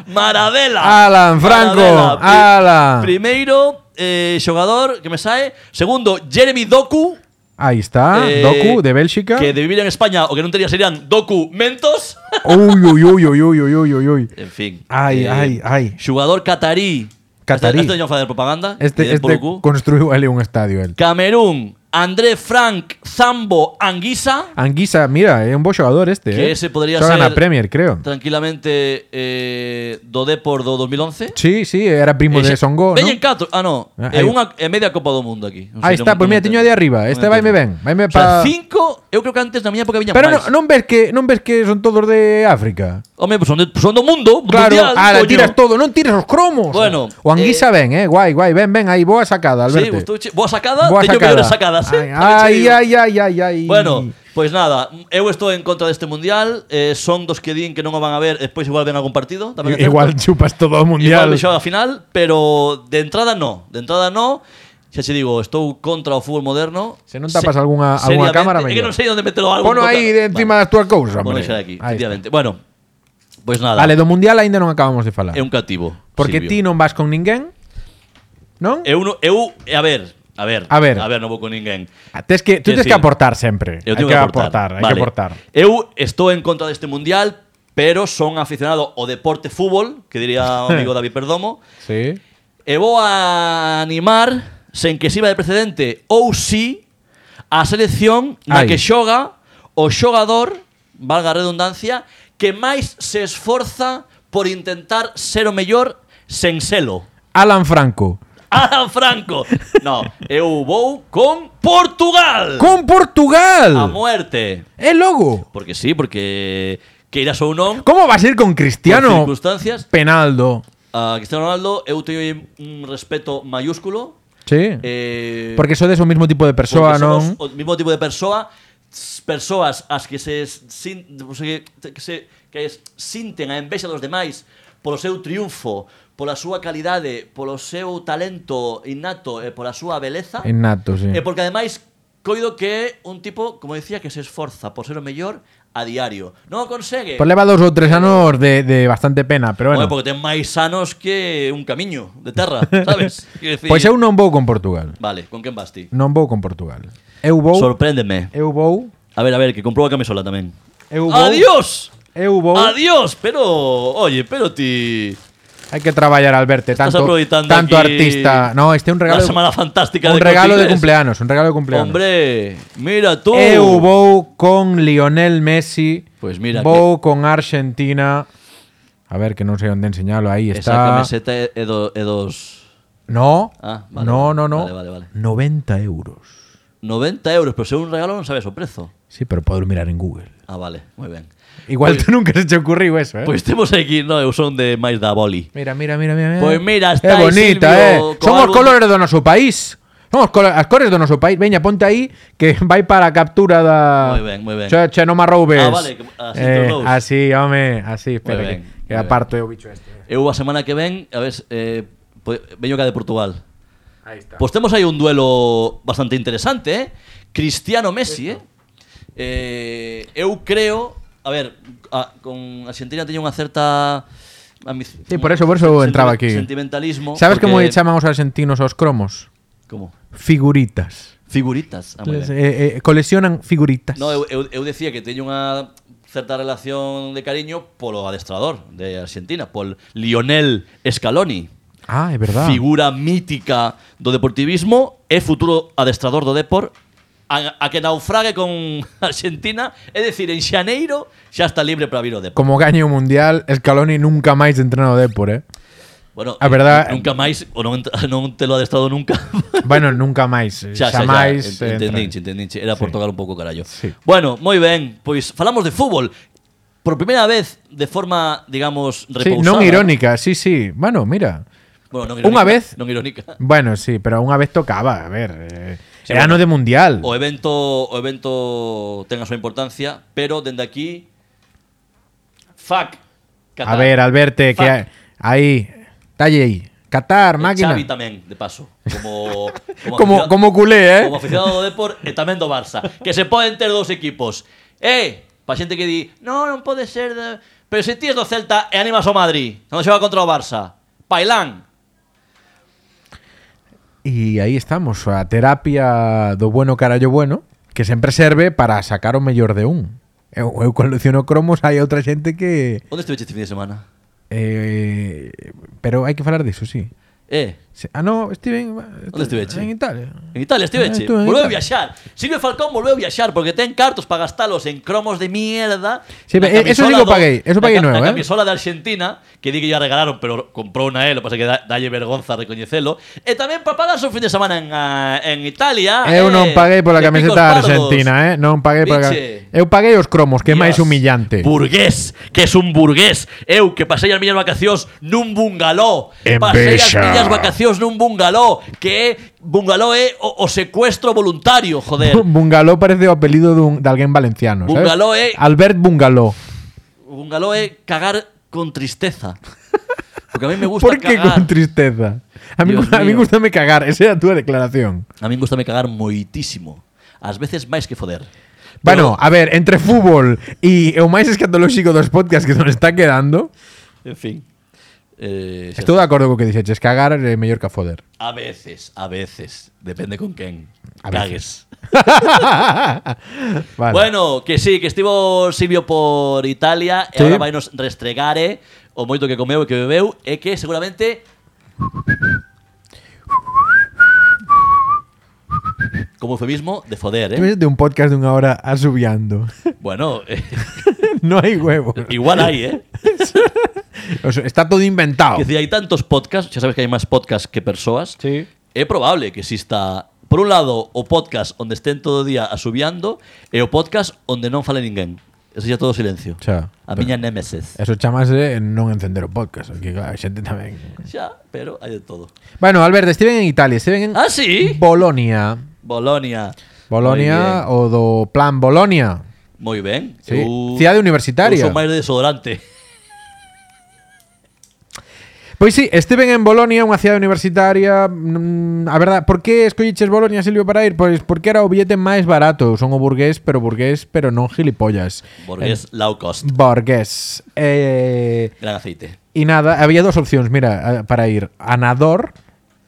[SPEAKER 2] Maradela.
[SPEAKER 1] Alan Franco,
[SPEAKER 2] Pri-
[SPEAKER 1] Alan.
[SPEAKER 2] Primeiro eh, xogador que me sae. Segundo, Jeremy Doku.
[SPEAKER 1] Aí está,
[SPEAKER 2] eh,
[SPEAKER 1] Ah, Doku de Bélxica.
[SPEAKER 2] Que de vivir en España o que non tería serían documentos.
[SPEAKER 1] Uy, uy, uy, uy, uy, uy, uy, uy, uy.
[SPEAKER 2] En fin.
[SPEAKER 1] Ai, ai, ai.
[SPEAKER 2] Xogador Eh, catarí.
[SPEAKER 1] Catarí.
[SPEAKER 2] Este, este non facer propaganda.
[SPEAKER 1] Este, este
[SPEAKER 2] eh, polo cu.
[SPEAKER 1] construiu ele un estadio el.
[SPEAKER 2] Camerún, André Frank, Zambo, Anguisa.
[SPEAKER 1] Anguisa, mira, é un bo xogador este, eh.
[SPEAKER 2] Que ese podría
[SPEAKER 1] Xoga na
[SPEAKER 2] ser-
[SPEAKER 1] Premier, creo.
[SPEAKER 2] Tranquilamente eh, do Depor do 2011.
[SPEAKER 1] Sí, sí, era primo de Songo, ¿no?
[SPEAKER 2] Veñen catro. Ah, no.
[SPEAKER 1] Ah,
[SPEAKER 2] É
[SPEAKER 1] aí-
[SPEAKER 2] unha é media Copa do Mundo aquí.
[SPEAKER 1] Aí está, pois mira, teño de arriba. Este vaime ben, vaime
[SPEAKER 2] O
[SPEAKER 1] pa-
[SPEAKER 2] sea, cinco, eu creo que antes na miña época viñan
[SPEAKER 1] Pero
[SPEAKER 2] máis.
[SPEAKER 1] no, non ves que non ves que son todos de África.
[SPEAKER 2] Home, pues son, de, son do mundo,
[SPEAKER 1] Claro,
[SPEAKER 2] mundial,
[SPEAKER 1] ahora
[SPEAKER 2] coño.
[SPEAKER 1] tiras todo, non tiras os cromos.
[SPEAKER 2] Bueno,
[SPEAKER 1] o Anguisa
[SPEAKER 2] eh,
[SPEAKER 1] ben, eh, guai, guai, ben, ben, aí boa sacada,
[SPEAKER 2] Sí, pues
[SPEAKER 1] Alberto.
[SPEAKER 2] gustouche. Boa sacada,
[SPEAKER 1] Boa
[SPEAKER 2] teño
[SPEAKER 1] sacada.
[SPEAKER 2] mellores sacadas. eh, tamén che
[SPEAKER 1] Ai,
[SPEAKER 2] digo.
[SPEAKER 1] ai, ai, ai, ai.
[SPEAKER 2] Bueno, pois nada, eu estou en contra deste mundial, eh, son dos que din que non o van a ver, despois igual ven algún partido, tamén é certo.
[SPEAKER 1] igual chupas todo o mundial.
[SPEAKER 2] Igual me xoga a final, pero de entrada no, de entrada no. Xa che digo, estou contra o fútbol moderno.
[SPEAKER 1] Se non tapas algunha- algunha
[SPEAKER 2] seriamente,
[SPEAKER 1] cámara,
[SPEAKER 2] É
[SPEAKER 1] mellor.
[SPEAKER 2] que non sei onde metelo algo.
[SPEAKER 1] Pono aí de encima das túas cousas,
[SPEAKER 2] Bueno,
[SPEAKER 1] hombre.
[SPEAKER 2] xa de aquí,
[SPEAKER 1] Ahí está.
[SPEAKER 2] efectivamente. Bueno, pois nada,
[SPEAKER 1] Vale, do mundial aínda non acabamos de falar.
[SPEAKER 2] é un cativo.
[SPEAKER 1] Porque
[SPEAKER 2] Silvio.
[SPEAKER 1] ti non vas con ninguén. Non?
[SPEAKER 2] Eu, no, eu, a ver, a ver,
[SPEAKER 1] A ver.
[SPEAKER 2] a ver, non vou con ninguén.
[SPEAKER 1] Tes Ah, que tú
[SPEAKER 2] Quer
[SPEAKER 1] tes que
[SPEAKER 2] decir,
[SPEAKER 1] aportar sempre.
[SPEAKER 2] Eu
[SPEAKER 1] hai
[SPEAKER 2] tengo
[SPEAKER 1] que aportar, hai que
[SPEAKER 2] Vale.
[SPEAKER 1] aportar.
[SPEAKER 2] Eu estou en contra deste mundial, pero son aficionado ao deporte fútbol, que diría o amigo David Perdomo,
[SPEAKER 1] Sí.
[SPEAKER 2] e vou a animar, sen que sirva de precedente ou si, a selección
[SPEAKER 1] Ai.
[SPEAKER 2] na que xoga o xogador, valga a redundancia, que máis se esforza por intentar ser o mellor sen selo.
[SPEAKER 1] Alan Franco.
[SPEAKER 2] Alan Franco. No, eu vou con Portugal.
[SPEAKER 1] Con
[SPEAKER 2] A
[SPEAKER 1] Portugal.
[SPEAKER 2] muerte.
[SPEAKER 1] É logo.
[SPEAKER 2] Porque sí, porque queiras ou non,
[SPEAKER 1] Como vas a ir con
[SPEAKER 2] por
[SPEAKER 1] Cristiano
[SPEAKER 2] circunstancias,
[SPEAKER 1] Penaldo?
[SPEAKER 2] a Cristiano Ronaldo eu teño un respeto mayúsculo.
[SPEAKER 1] Sí.
[SPEAKER 2] Eh,
[SPEAKER 1] porque sodes o mismo tipo de persoa,
[SPEAKER 2] porque somos
[SPEAKER 1] non?
[SPEAKER 2] O mismo tipo de persoa, s- persoas as que se s- sin, non sei, que, que se que es, sinten a envexa dos demais polo seu triunfo, pola súa calidade, polo seu talento innato e pola súa beleza.
[SPEAKER 1] Innato, sí.
[SPEAKER 2] E porque ademais coido que é un tipo, como decía, que se esforza por ser o mellor a diario. Non o consegue.
[SPEAKER 1] Pois leva Pues dos ou tres anos de, de bastante pena, pero bueno.
[SPEAKER 2] Bueno. porque ten máis anos que un camiño de terra, sabes? Quero Decir,
[SPEAKER 1] Pois Pues eu non vou con Portugal.
[SPEAKER 2] Vale, con quen vas ti?
[SPEAKER 1] Non vou con Portugal. Eu vou,
[SPEAKER 2] Sorpréndeme.
[SPEAKER 1] eu vou,
[SPEAKER 2] A ver, a ver, que comprueba a camisola tamén.
[SPEAKER 1] eu vou.
[SPEAKER 2] Adiós!
[SPEAKER 1] Eu vou.
[SPEAKER 2] Adiós! Pero, oye, pero ti...
[SPEAKER 1] Hai que traballar Alberto,
[SPEAKER 2] Estás
[SPEAKER 1] tanto
[SPEAKER 2] aproveitando
[SPEAKER 1] tanto
[SPEAKER 2] aquí
[SPEAKER 1] artista. No, este é un regalo.
[SPEAKER 2] La semana fantástica
[SPEAKER 1] un
[SPEAKER 2] de
[SPEAKER 1] regalo de
[SPEAKER 2] Corte Inglés.
[SPEAKER 1] cumpleaños, un regalo de cumpleaños. Eh,
[SPEAKER 2] Hombre, mira tú.
[SPEAKER 1] Eu vou con Lionel Messi.
[SPEAKER 2] Pois Pues mira
[SPEAKER 1] Vou con Argentina. A ver, que non sei onde enseñalo, aí
[SPEAKER 2] Esa
[SPEAKER 1] está.
[SPEAKER 2] camiseta é, é, do, é dos...
[SPEAKER 1] No.
[SPEAKER 2] Ah, vale,
[SPEAKER 1] no,
[SPEAKER 2] vale,
[SPEAKER 1] no, no.
[SPEAKER 2] vale, vale, vale.
[SPEAKER 1] 90 euros.
[SPEAKER 2] 90 euros, pero se é un regalo non sabes o prezo.
[SPEAKER 1] Sí, pero podo mirar en Google.
[SPEAKER 2] Ah, vale, moi ben.
[SPEAKER 1] Igual
[SPEAKER 2] Pois-
[SPEAKER 1] tú nunca se te ocurriu eso, eh?
[SPEAKER 2] Pois temos aquí, no, eu son de máis da boli.
[SPEAKER 1] Mira, mira, mira, mira. mira.
[SPEAKER 2] Pois Pues mira,
[SPEAKER 1] É
[SPEAKER 2] está aí
[SPEAKER 1] bonita,
[SPEAKER 2] Silvio
[SPEAKER 1] eh.
[SPEAKER 2] co
[SPEAKER 1] Son os
[SPEAKER 2] álbum.
[SPEAKER 1] colores do noso país. Son os colo- as cores do noso país. Veña, ponte aí que vai para a captura da...
[SPEAKER 2] Moi ben, moi ben.
[SPEAKER 1] Che, che, non me roubes.
[SPEAKER 2] Ah, vale, que- así
[SPEAKER 1] eh,
[SPEAKER 2] tus dous.
[SPEAKER 1] así, home, así, espera
[SPEAKER 2] Moi
[SPEAKER 1] que,
[SPEAKER 2] ben,
[SPEAKER 1] que
[SPEAKER 2] moi ben.
[SPEAKER 1] aparto eu o bicho este.
[SPEAKER 2] Eu a semana que ven, a ver, eh, po- veño cá de Portugal.
[SPEAKER 1] Aí está.
[SPEAKER 2] Pois temos aí un duelo bastante interesante, eh? Cristiano Messi, eh? eh eu creo, a ver, a, con Argentina teño unha certa amic-
[SPEAKER 1] Sí, por eso- por eso entraba aquí.
[SPEAKER 2] Sentimentalismo.
[SPEAKER 1] Sabes como
[SPEAKER 2] porque-
[SPEAKER 1] chamamos aos argentinos aos cromos?
[SPEAKER 2] Como?
[SPEAKER 1] Figuritas.
[SPEAKER 2] Figuritas. Ah, moi ben.
[SPEAKER 1] Les, eh, eh, coleccionan figuritas.
[SPEAKER 2] No, eh, eu, eu, eu decía que teño unha certa relación de cariño polo adestrador de Argentina, pol Lionel Scaloni,
[SPEAKER 1] Ah, é verdade.
[SPEAKER 2] figura mítica do deportivismo e futuro adestrador do Depor, a, a que naufrague con Argentina, é dicir, en xaneiro xa está libre para vir o Depor.
[SPEAKER 1] Como gañe o Mundial, Scaloni nunca máis entrena o Depor, eh?
[SPEAKER 2] Bueno, eh,
[SPEAKER 1] a verdade-
[SPEAKER 2] nunca máis, ou non, ent- non te lo adestrado nunca.
[SPEAKER 1] bueno, nunca máis. eh,
[SPEAKER 2] xa, xa, xa,
[SPEAKER 1] Xamais.
[SPEAKER 2] ent-
[SPEAKER 1] eh,
[SPEAKER 2] entendinche,
[SPEAKER 1] entra-
[SPEAKER 2] entendinche, era por tocar un pouco o carallo.
[SPEAKER 1] Sí.
[SPEAKER 2] Bueno, moi ben, pois falamos de fútbol. Por primeira vez, de forma, digamos,
[SPEAKER 1] Sí,
[SPEAKER 2] repousada.
[SPEAKER 1] non irónica, sí, sí. Bueno, mira.
[SPEAKER 2] Bueno, non
[SPEAKER 1] Unha
[SPEAKER 2] irónica,
[SPEAKER 1] vez-
[SPEAKER 2] Non irónica.
[SPEAKER 1] Bueno, sí, pero unha vez tocaba, a ver. Eh,
[SPEAKER 2] Sí,
[SPEAKER 1] era
[SPEAKER 2] bueno.
[SPEAKER 1] ano de mundial.
[SPEAKER 2] O evento o evento ten a súa importancia, pero dende aquí fuck
[SPEAKER 1] a ver, Alberte, que
[SPEAKER 2] Fuck.
[SPEAKER 1] hai- aí, talle aí. Qatar, máquina.
[SPEAKER 2] Xavi tamén, de paso, como
[SPEAKER 1] Como,
[SPEAKER 2] aficionado-
[SPEAKER 1] como culé, eh.
[SPEAKER 2] como aficionado do Depor e tamén do Barça, que se poden ter dous equipos. Eh, pa xente que di, "No, non pode ser de... Pero se ti és do Celta e animas ao Madrid, non xoga contra o Barça. Pailán,
[SPEAKER 1] E aí estamos, a terapia do bueno carallo bueno, que sempre serve para sacar o mellor de un. Eu, eu colecciono cromos, hai outra xente que...
[SPEAKER 2] Onde estiveste este fin de semana?
[SPEAKER 1] Eh, pero hai que falar diso, sí.
[SPEAKER 2] Eh,
[SPEAKER 1] Se- Ah, no, estive en...
[SPEAKER 2] Onde estiveche?
[SPEAKER 1] En Italia.
[SPEAKER 2] en Italia
[SPEAKER 1] Ah,
[SPEAKER 2] estiveche.
[SPEAKER 1] estuve en
[SPEAKER 2] volveu a
[SPEAKER 1] Italia.
[SPEAKER 2] viaxar. Silvio Falcón volveu a viaxar porque ten cartos para gastalos en cromos de mierda.
[SPEAKER 1] Sí,
[SPEAKER 2] na
[SPEAKER 1] pero, eh, eso sí
[SPEAKER 2] camisola
[SPEAKER 1] que o
[SPEAKER 2] do-
[SPEAKER 1] paguei, eso
[SPEAKER 2] na
[SPEAKER 1] paguei
[SPEAKER 2] ca-
[SPEAKER 1] nuevo, eh.
[SPEAKER 2] na camisola de Argentina, que di que ya regalaron, pero comprou na él, o pasa que da, dalle vergonza recoñecelo. E tamén para pagar o fin de semana en, ah, en Italia.
[SPEAKER 1] Eu
[SPEAKER 2] eh,
[SPEAKER 1] non paguei pola
[SPEAKER 2] de
[SPEAKER 1] camiseta
[SPEAKER 2] picos pardos.
[SPEAKER 1] argentina, eh? Non paguei pola camiseta.
[SPEAKER 2] Biche.
[SPEAKER 1] Eu paguei os cromos, que é máis
[SPEAKER 2] Dios,
[SPEAKER 1] humillante.
[SPEAKER 2] Burgués, que es un burgués. Eu, que pasei as miñas vacacións nun bungaló.
[SPEAKER 3] En
[SPEAKER 2] pasei as
[SPEAKER 3] Bexa.
[SPEAKER 2] miñas vacacións nun bungaló. Que é, bungaló é o, o secuestro voluntario, joder.
[SPEAKER 1] Bu- Bungaló parece o apelido dun, de alguén valenciano, sabes?
[SPEAKER 2] Bungaló, eh.
[SPEAKER 1] Albert Bungaló.
[SPEAKER 2] bungaló é cagar con tristeza. Porque a mí me gusta
[SPEAKER 1] Por que
[SPEAKER 2] cagar.
[SPEAKER 1] con tristeza? A mí,
[SPEAKER 2] Dios
[SPEAKER 1] a mí
[SPEAKER 2] mío.
[SPEAKER 1] gustame cagar, esa é a túa declaración.
[SPEAKER 2] A mí me gusta me cagar moitísimo. Ás veces máis que foder.
[SPEAKER 1] Bueno, a ver, entre fútbol e o máis escatolóxico dos podcasts que nos está quedando,
[SPEAKER 2] En fin. Eh, xa
[SPEAKER 1] estou de acordo co que dixeches, cagar é mellor que foder.
[SPEAKER 2] está. a veces, a veces. Depende con quen.
[SPEAKER 1] A
[SPEAKER 2] Cagues.
[SPEAKER 1] Vale.
[SPEAKER 2] Bueno, que sí, que estivo Silvio por Italia e
[SPEAKER 1] Sí.
[SPEAKER 2] agora vai nos restregare o moito que comeu e que bebeu e que seguramente como eufemismo de foder,
[SPEAKER 1] Tú
[SPEAKER 2] eh?
[SPEAKER 1] ves de un podcast dunha hora asubiando.
[SPEAKER 2] Bueno, eh,
[SPEAKER 1] non hai huevos.
[SPEAKER 2] igual hai, eh?
[SPEAKER 1] O sea, está todo inventado.
[SPEAKER 2] Que si hai tantos podcasts, xa sabes que hai máis podcasts que persoas.
[SPEAKER 1] Sí.
[SPEAKER 2] É probable que exista Por un lado, o podcast onde estén todo o día asubiando e o podcast onde non fale ninguén. Eso xa todo silencio.
[SPEAKER 1] Xa,
[SPEAKER 2] a
[SPEAKER 1] pero-
[SPEAKER 2] miña némesis.
[SPEAKER 1] Eso chamase non encender o podcast, que claro, a xente tamén.
[SPEAKER 2] Xa, pero hai de todo.
[SPEAKER 1] Bueno, Alberto, estiven en Italia, estiven en
[SPEAKER 2] Ah, sí.
[SPEAKER 1] Bolonia.
[SPEAKER 2] Bolonia.
[SPEAKER 1] Bolonia o do Plan Bolonia.
[SPEAKER 2] Moi ben.
[SPEAKER 1] Sí.
[SPEAKER 2] Eu-
[SPEAKER 1] Cidade
[SPEAKER 2] Eu
[SPEAKER 1] universitaria.
[SPEAKER 2] son máis de desodorante.
[SPEAKER 1] Pois sí, estiven en Bolonia, unha cidade universitaria mm, A verdad, por que escolliches Bolonia, Silvio, para ir? Pois porque era o billete máis barato Son o burgués, pero burgués, pero non gilipollas
[SPEAKER 2] Borgués low cost.
[SPEAKER 1] Eh, Borgués Eh,
[SPEAKER 2] Gran aceite.
[SPEAKER 1] E nada, había dos opcións, mira, a- para ir A Nador,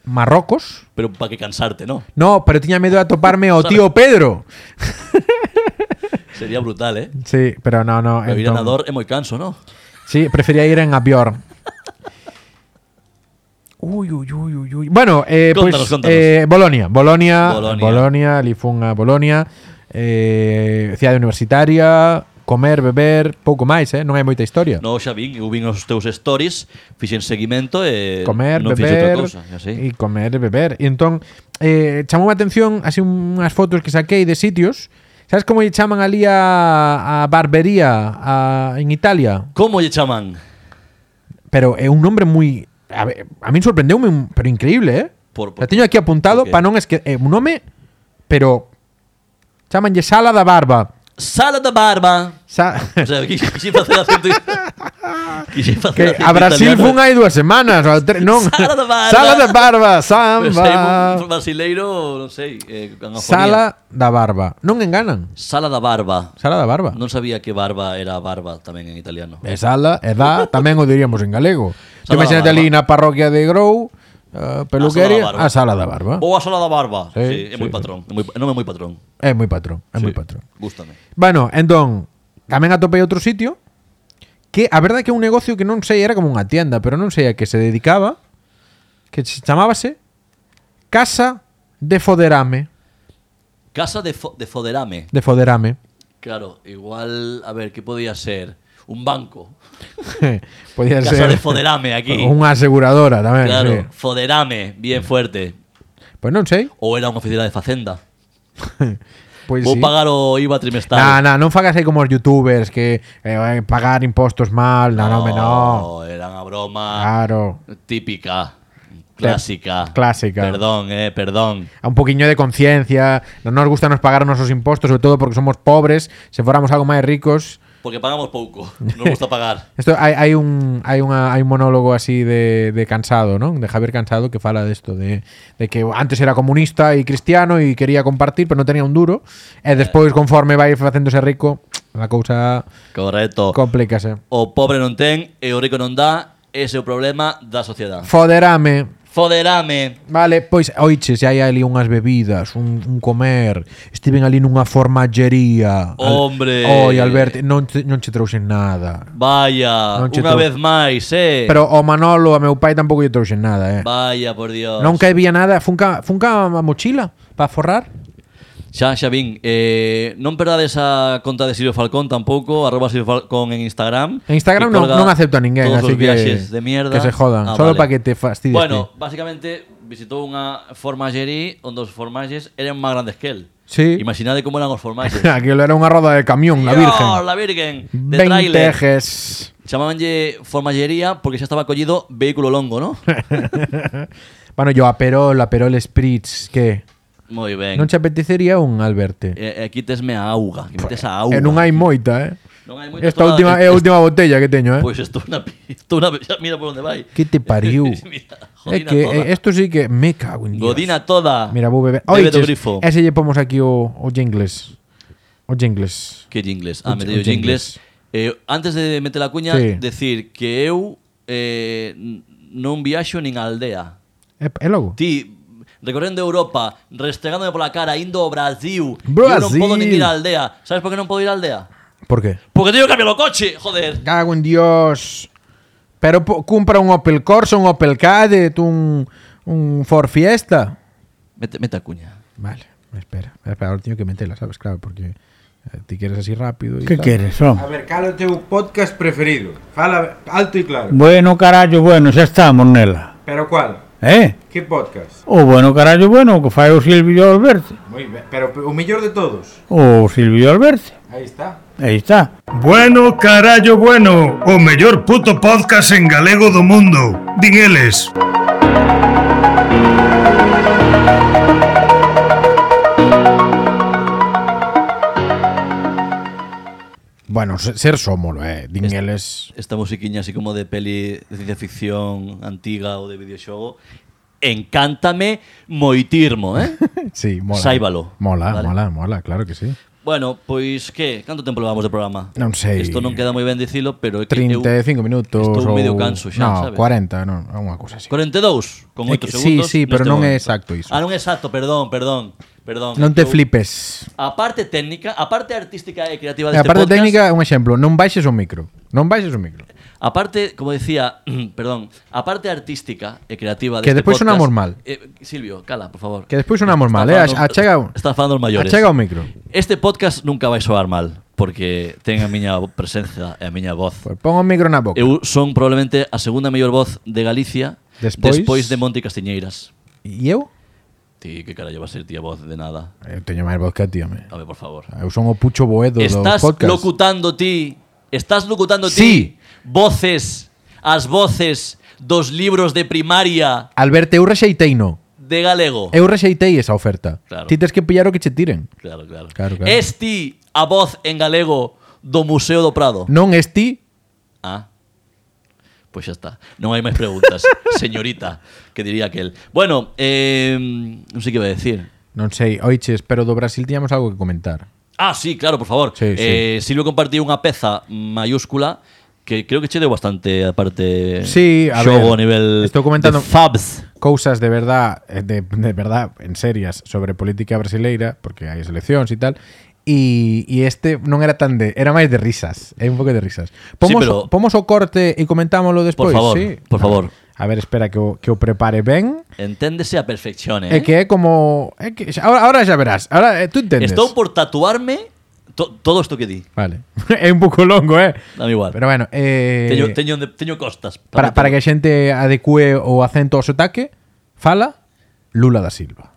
[SPEAKER 1] Marrocos
[SPEAKER 2] Pero para que cansarte, ¿no?
[SPEAKER 1] No, pero tiña medo de atoparme ao tío Pedro
[SPEAKER 2] Sería brutal, ¿eh?
[SPEAKER 1] Sí, pero no, no
[SPEAKER 2] Pero ir a
[SPEAKER 1] entón-
[SPEAKER 2] nador é moi canso, ¿no?
[SPEAKER 1] Sí, prefería ir en avión. Uy, uy, uy, uy, uy. Bueno, eh,
[SPEAKER 2] Contanos,
[SPEAKER 1] pues
[SPEAKER 2] contanos.
[SPEAKER 1] eh, Bolonia, Bolonia,
[SPEAKER 2] Bolonia.
[SPEAKER 1] Bolonia, Lifunga, Bolonia, eh, cidade universitaria, comer, beber, pouco máis, eh, non hai moita historia.
[SPEAKER 2] No, xa vin, eu vin os teus stories, fixen seguimento e
[SPEAKER 1] comer,
[SPEAKER 2] non fixe outra
[SPEAKER 1] beber
[SPEAKER 2] cousa, e así.
[SPEAKER 1] e comer e beber. E entón eh, chamou a atención así unhas fotos que saquei de sitios. Sabes como lle chaman ali a, a barbería a, en Italia?
[SPEAKER 2] Como lle chaman?
[SPEAKER 1] Pero é un nombre moi a, ver, a min sorprendeume, un- pero increíble, eh?
[SPEAKER 2] Por- por
[SPEAKER 1] La
[SPEAKER 2] qué?
[SPEAKER 1] teño aquí apuntado
[SPEAKER 2] Por qué?
[SPEAKER 1] para non es que é un nome, pero chamanlle sala da barba.
[SPEAKER 2] Sala da barba.
[SPEAKER 1] Sa
[SPEAKER 2] O sea, quixen facer acento. Quixen
[SPEAKER 1] que
[SPEAKER 2] facer acento
[SPEAKER 1] a Brasil
[SPEAKER 2] italiano.
[SPEAKER 1] fun hai dúas semanas, ou tre- non.
[SPEAKER 2] Sala da barba.
[SPEAKER 1] Sala da barba,
[SPEAKER 2] Pero sei un
[SPEAKER 1] samba.
[SPEAKER 2] brasileiro, non sei, eh, con afonía.
[SPEAKER 1] Sala da barba. Non enganan.
[SPEAKER 2] Sala da barba.
[SPEAKER 1] Sala da barba.
[SPEAKER 2] Non sabía que barba era barba tamén en italiano.
[SPEAKER 1] E sala, e da, tamén o diríamos en galego. Te
[SPEAKER 2] Sala da
[SPEAKER 1] imagínate
[SPEAKER 2] barba. Ah,
[SPEAKER 1] ali na parroquia de Grou, eh, peluquería, a sala da barba.
[SPEAKER 2] Ou a sala da barba. Sí,
[SPEAKER 1] Sí,
[SPEAKER 2] sí, é moi
[SPEAKER 1] sí.
[SPEAKER 2] patrón. É moi, non é moi patrón.
[SPEAKER 1] É moi patrón, é moi
[SPEAKER 2] Sí,
[SPEAKER 1] patrón.
[SPEAKER 2] Gústame.
[SPEAKER 1] Bueno, entón, tamén atopei outro sitio que a verdade é que é un negocio que non sei, era como unha tienda, pero non sei a que se dedicaba, que se chamábase Casa de Foderame,
[SPEAKER 2] Casa de, fo de foderame.
[SPEAKER 1] de Foderame.
[SPEAKER 2] Claro, igual, a ver, que podía ser? Un banco.
[SPEAKER 1] Podía ser
[SPEAKER 2] Casa de Foderame aquí.
[SPEAKER 1] Unha aseguradora tamén,
[SPEAKER 2] Claro,
[SPEAKER 1] sí.
[SPEAKER 2] foderame, bien fuerte.
[SPEAKER 1] Pois non sei.
[SPEAKER 2] Ou era unha oficina de facenda.
[SPEAKER 1] Pois
[SPEAKER 2] Vou
[SPEAKER 1] sí.
[SPEAKER 2] pagar o IVA trimestral.
[SPEAKER 1] Nah, nah, non fagas aí como os youtubers que eh, vai pagar impostos mal, no, no, no. Ah.
[SPEAKER 2] Oh, Era unha broma
[SPEAKER 1] Claro.
[SPEAKER 2] típica, clásica.
[SPEAKER 1] clásica.
[SPEAKER 2] Perdón, eh, perdón.
[SPEAKER 1] a un poquinho de conciencia, non nos gusta nos pagar nosos impostos, sobre todo porque somos pobres, se fóramos algo máis ricos.
[SPEAKER 2] Porque pagamos pouco, non gusta pagar.
[SPEAKER 1] Isto hai, hai un hai unha hai un monólogo así de, de Cansado, non? De Javier Cansado que fala desto de, de que antes era comunista e cristiano e quería compartir, pero non tenía un duro, e despois conforme vai facéndose rico, a cousa
[SPEAKER 2] Correcto.
[SPEAKER 1] complícase.
[SPEAKER 2] O pobre non ten e o rico non dá, ese é o problema da sociedade.
[SPEAKER 1] Foderame,
[SPEAKER 2] Foderame.
[SPEAKER 1] Vale, pois oiches, hai ali unhas bebidas, un, un comer. Estiven ali nunha formallería.
[SPEAKER 2] Hombre.
[SPEAKER 1] Oi, Alberto, non te, non che trouxen nada.
[SPEAKER 2] Vaya,
[SPEAKER 1] Non che
[SPEAKER 2] unha
[SPEAKER 1] trou-
[SPEAKER 2] vez máis, eh.
[SPEAKER 1] Pero o Manolo, a meu pai tampouco lle trouxen nada, eh.
[SPEAKER 2] Vaya, por Dios.
[SPEAKER 1] Non caibía nada, funca funca a mochila para forrar.
[SPEAKER 2] Xa, xa vin, eh, non perdades a conta de Sirio Falcón tampouco, arroba Sirio Falcón en Instagram.
[SPEAKER 1] En Instagram
[SPEAKER 2] que
[SPEAKER 1] non,
[SPEAKER 2] colga
[SPEAKER 1] non acepto a ninguén,
[SPEAKER 2] todos
[SPEAKER 1] así
[SPEAKER 2] os
[SPEAKER 1] que
[SPEAKER 2] viaxes de mierda.
[SPEAKER 1] que se jodan,
[SPEAKER 2] Ah,
[SPEAKER 1] solo
[SPEAKER 2] vale.
[SPEAKER 1] para que te fastidies.
[SPEAKER 2] Bueno,
[SPEAKER 1] ti.
[SPEAKER 2] basicamente visitou unha formagería onde os formaxes eran máis grandes que el.
[SPEAKER 1] Sí.
[SPEAKER 2] Imaginade como eran os formaxes.
[SPEAKER 1] aquilo era unha roda de camión, la
[SPEAKER 2] Dios,
[SPEAKER 1] Virgen.
[SPEAKER 2] la Virgen. De
[SPEAKER 1] 20
[SPEAKER 2] trailer.
[SPEAKER 1] ejes.
[SPEAKER 2] Chamábanlle formallería porque xa estaba collido vehículo longo, ¿no?
[SPEAKER 1] Bueno, yo Aperol, Aperol Spritz, que
[SPEAKER 2] Moi ben.
[SPEAKER 1] non che apetecería un Alberto.
[SPEAKER 2] E, e quitesme a auga, que metes a auga.
[SPEAKER 1] E non hai moita, eh.
[SPEAKER 2] Non hai moita
[SPEAKER 1] Esta
[SPEAKER 2] toda-
[SPEAKER 1] última é a última botella que teño, eh.
[SPEAKER 2] Pois estou na estou na xa mira por onde vai.
[SPEAKER 1] que te pariu.
[SPEAKER 2] Mira,
[SPEAKER 1] é
[SPEAKER 2] jodina
[SPEAKER 1] que
[SPEAKER 2] toda.
[SPEAKER 1] eh, esto sí que me cago en Dios.
[SPEAKER 2] Godina toda.
[SPEAKER 1] Mira, vou beber.
[SPEAKER 2] Bebe
[SPEAKER 1] Oye,
[SPEAKER 2] do grifo.
[SPEAKER 1] ese lle pomos aquí o, o jingles. O jingles.
[SPEAKER 2] Que jingles. Ah,
[SPEAKER 1] Un-
[SPEAKER 2] metei
[SPEAKER 1] un
[SPEAKER 2] os jingles.
[SPEAKER 1] jingles.
[SPEAKER 2] Eh, antes de meter a cuña,
[SPEAKER 1] Sí.
[SPEAKER 2] decir que eu eh, n- non viaxo nin a aldea.
[SPEAKER 1] É, é logo.
[SPEAKER 2] Ti, recorrendo Europa, restregándome pola cara, indo ao Brasil, eu non
[SPEAKER 1] Brasil.
[SPEAKER 2] podo nin ir á aldea. Sabes por que non podo ir á aldea?
[SPEAKER 1] Por qué?
[SPEAKER 2] Porque teño que cambiar o coche, joder.
[SPEAKER 1] Cago en Dios. Pero po- compra un Opel Corsa, un Opel Cadet, un, un Ford Fiesta.
[SPEAKER 2] Mete, mete a cuña.
[SPEAKER 1] Vale, espera. Espera, ahora tengo que meterla, ¿sabes? Claro, porque eh, te quieres así rápido. Y
[SPEAKER 4] ¿Qué
[SPEAKER 1] tal.
[SPEAKER 4] quieres, hombre?
[SPEAKER 5] A ver, cal é o teu podcast preferido? Fala alto e claro.
[SPEAKER 4] Bueno, carallo, bueno, xa estamos nela.
[SPEAKER 5] Pero cual?
[SPEAKER 4] Eh?
[SPEAKER 5] Que podcast?
[SPEAKER 4] O bueno, carallo, bueno, o que fai o Silvio Alberto.
[SPEAKER 5] Moi ben, pero o mellor de todos.
[SPEAKER 4] O Silvio Alberto.
[SPEAKER 5] Aí está.
[SPEAKER 4] Aí está.
[SPEAKER 3] Bueno, carallo, bueno, o mellor puto podcast en galego do mundo. Din eles.
[SPEAKER 1] Bueno, se- ser somolo,
[SPEAKER 2] Este.
[SPEAKER 1] eh. Dingueles.
[SPEAKER 2] Esta musiquiña así como de peli de ciencia ficción antiga ou de videoxogo, encántame moitirmo, eh?
[SPEAKER 1] Sí, mola.
[SPEAKER 2] Sáibalo.
[SPEAKER 1] Mola,
[SPEAKER 2] Vale.
[SPEAKER 1] mola, mola, claro que sí.
[SPEAKER 2] Bueno, pois que? Canto tempo levamos de programa?
[SPEAKER 1] Non sei.
[SPEAKER 2] Isto non queda moi ben dicilo, pero é que eu
[SPEAKER 1] 35 minutos
[SPEAKER 2] estou
[SPEAKER 1] ou...
[SPEAKER 2] medio canso xa,
[SPEAKER 1] no,
[SPEAKER 2] sabes?
[SPEAKER 1] 40, non, é unha cousa así.
[SPEAKER 2] 42 con
[SPEAKER 1] É
[SPEAKER 2] 8
[SPEAKER 1] que- sí,
[SPEAKER 2] segundos.
[SPEAKER 1] sí, pero
[SPEAKER 2] neste
[SPEAKER 1] non é
[SPEAKER 2] momento.
[SPEAKER 1] exacto iso.
[SPEAKER 2] Ah, non é exacto, perdón, perdón, perdón.
[SPEAKER 1] Non te
[SPEAKER 2] Eu-
[SPEAKER 1] flipes.
[SPEAKER 2] A parte técnica, a parte artística e creativa
[SPEAKER 1] E a
[SPEAKER 2] deste
[SPEAKER 1] parte
[SPEAKER 2] podcast,
[SPEAKER 1] técnica é un exemplo, non baixes o micro. Non baixes o micro.
[SPEAKER 2] a parte, como decía, perdón, a parte artística e creativa
[SPEAKER 1] Que
[SPEAKER 2] deste
[SPEAKER 1] despois
[SPEAKER 2] podcast-
[SPEAKER 1] sonamos mal.
[SPEAKER 2] Eh, Silvio, cala, por favor.
[SPEAKER 1] Que despois sonamos mal, eh?
[SPEAKER 2] falando-
[SPEAKER 1] Achega o-
[SPEAKER 2] Está falando os maiores.
[SPEAKER 1] Achega o micro.
[SPEAKER 2] Este podcast nunca vai soar mal, porque ten a miña presencia e a miña voz.
[SPEAKER 1] Pois pon o micro na boca.
[SPEAKER 2] Eu son probablemente a segunda mellor voz de Galicia
[SPEAKER 1] Despois-
[SPEAKER 2] despois de Monte Castiñeiras.
[SPEAKER 1] E eu?
[SPEAKER 2] Ti, que carallo va a ser ti a voz de nada?
[SPEAKER 1] Eu teño máis voz que a ti, home.
[SPEAKER 2] A ver, por favor.
[SPEAKER 1] Eu son o pucho boedo do Ah.
[SPEAKER 2] Estás
[SPEAKER 1] podcast.
[SPEAKER 2] locutando ti, estás locutando
[SPEAKER 1] Sí.
[SPEAKER 2] ti voces, as voces dos libros de primaria
[SPEAKER 1] Alberto, eu rexeitei no.
[SPEAKER 2] de galego.
[SPEAKER 1] Eu rexeitei esa oferta.
[SPEAKER 2] Claro.
[SPEAKER 1] Ti tes que pillar o que che tiren.
[SPEAKER 2] Claro, claro.
[SPEAKER 1] Claro, claro.
[SPEAKER 2] Es ti a voz en galego do Museo do Prado.
[SPEAKER 1] Non es ti,
[SPEAKER 2] Ah. Pois xa está. Non hai máis preguntas, señorita, que diría aquel. Bueno, eh, non sei que iba a decir.
[SPEAKER 1] non sei, oiches, pero do Brasil tiñamos algo que comentar.
[SPEAKER 2] Ah, sí, claro, por favor.
[SPEAKER 1] Sí, sí.
[SPEAKER 2] Eh, Silvio compartiu unha peza mayúscula que creo que che deu bastante a parte
[SPEAKER 1] Sí, a
[SPEAKER 2] xogo
[SPEAKER 1] ver,
[SPEAKER 2] a nivel
[SPEAKER 1] estou comentando-
[SPEAKER 2] de fabs.
[SPEAKER 1] cousas de verdad, eh, de, de verdad, en serias sobre política brasileira, porque hai as eleccións e tal, e, e este non era tan de, era máis de risas, é un pouco de risas. Pomos,
[SPEAKER 2] Sí, pero-
[SPEAKER 1] pomos o corte e comentámoslo despois,
[SPEAKER 2] favor,
[SPEAKER 1] sí?
[SPEAKER 2] por favor.
[SPEAKER 1] A ver, espera que o, que o prepare ben.
[SPEAKER 2] Enténdese a perfección, eh?
[SPEAKER 1] É que é como, é que xa- ahora, ahora xa verás, ahora eh, tú entendes.
[SPEAKER 2] Estou por tatuarme to- todo isto que di.
[SPEAKER 1] Vale. é un pouco longo, eh.
[SPEAKER 2] Dame igual.
[SPEAKER 1] Pero bueno, eh
[SPEAKER 2] teño, teño, onde- teño costas.
[SPEAKER 1] para, para que a xente adecue o acento ao sotaque, fala Lula da Silva.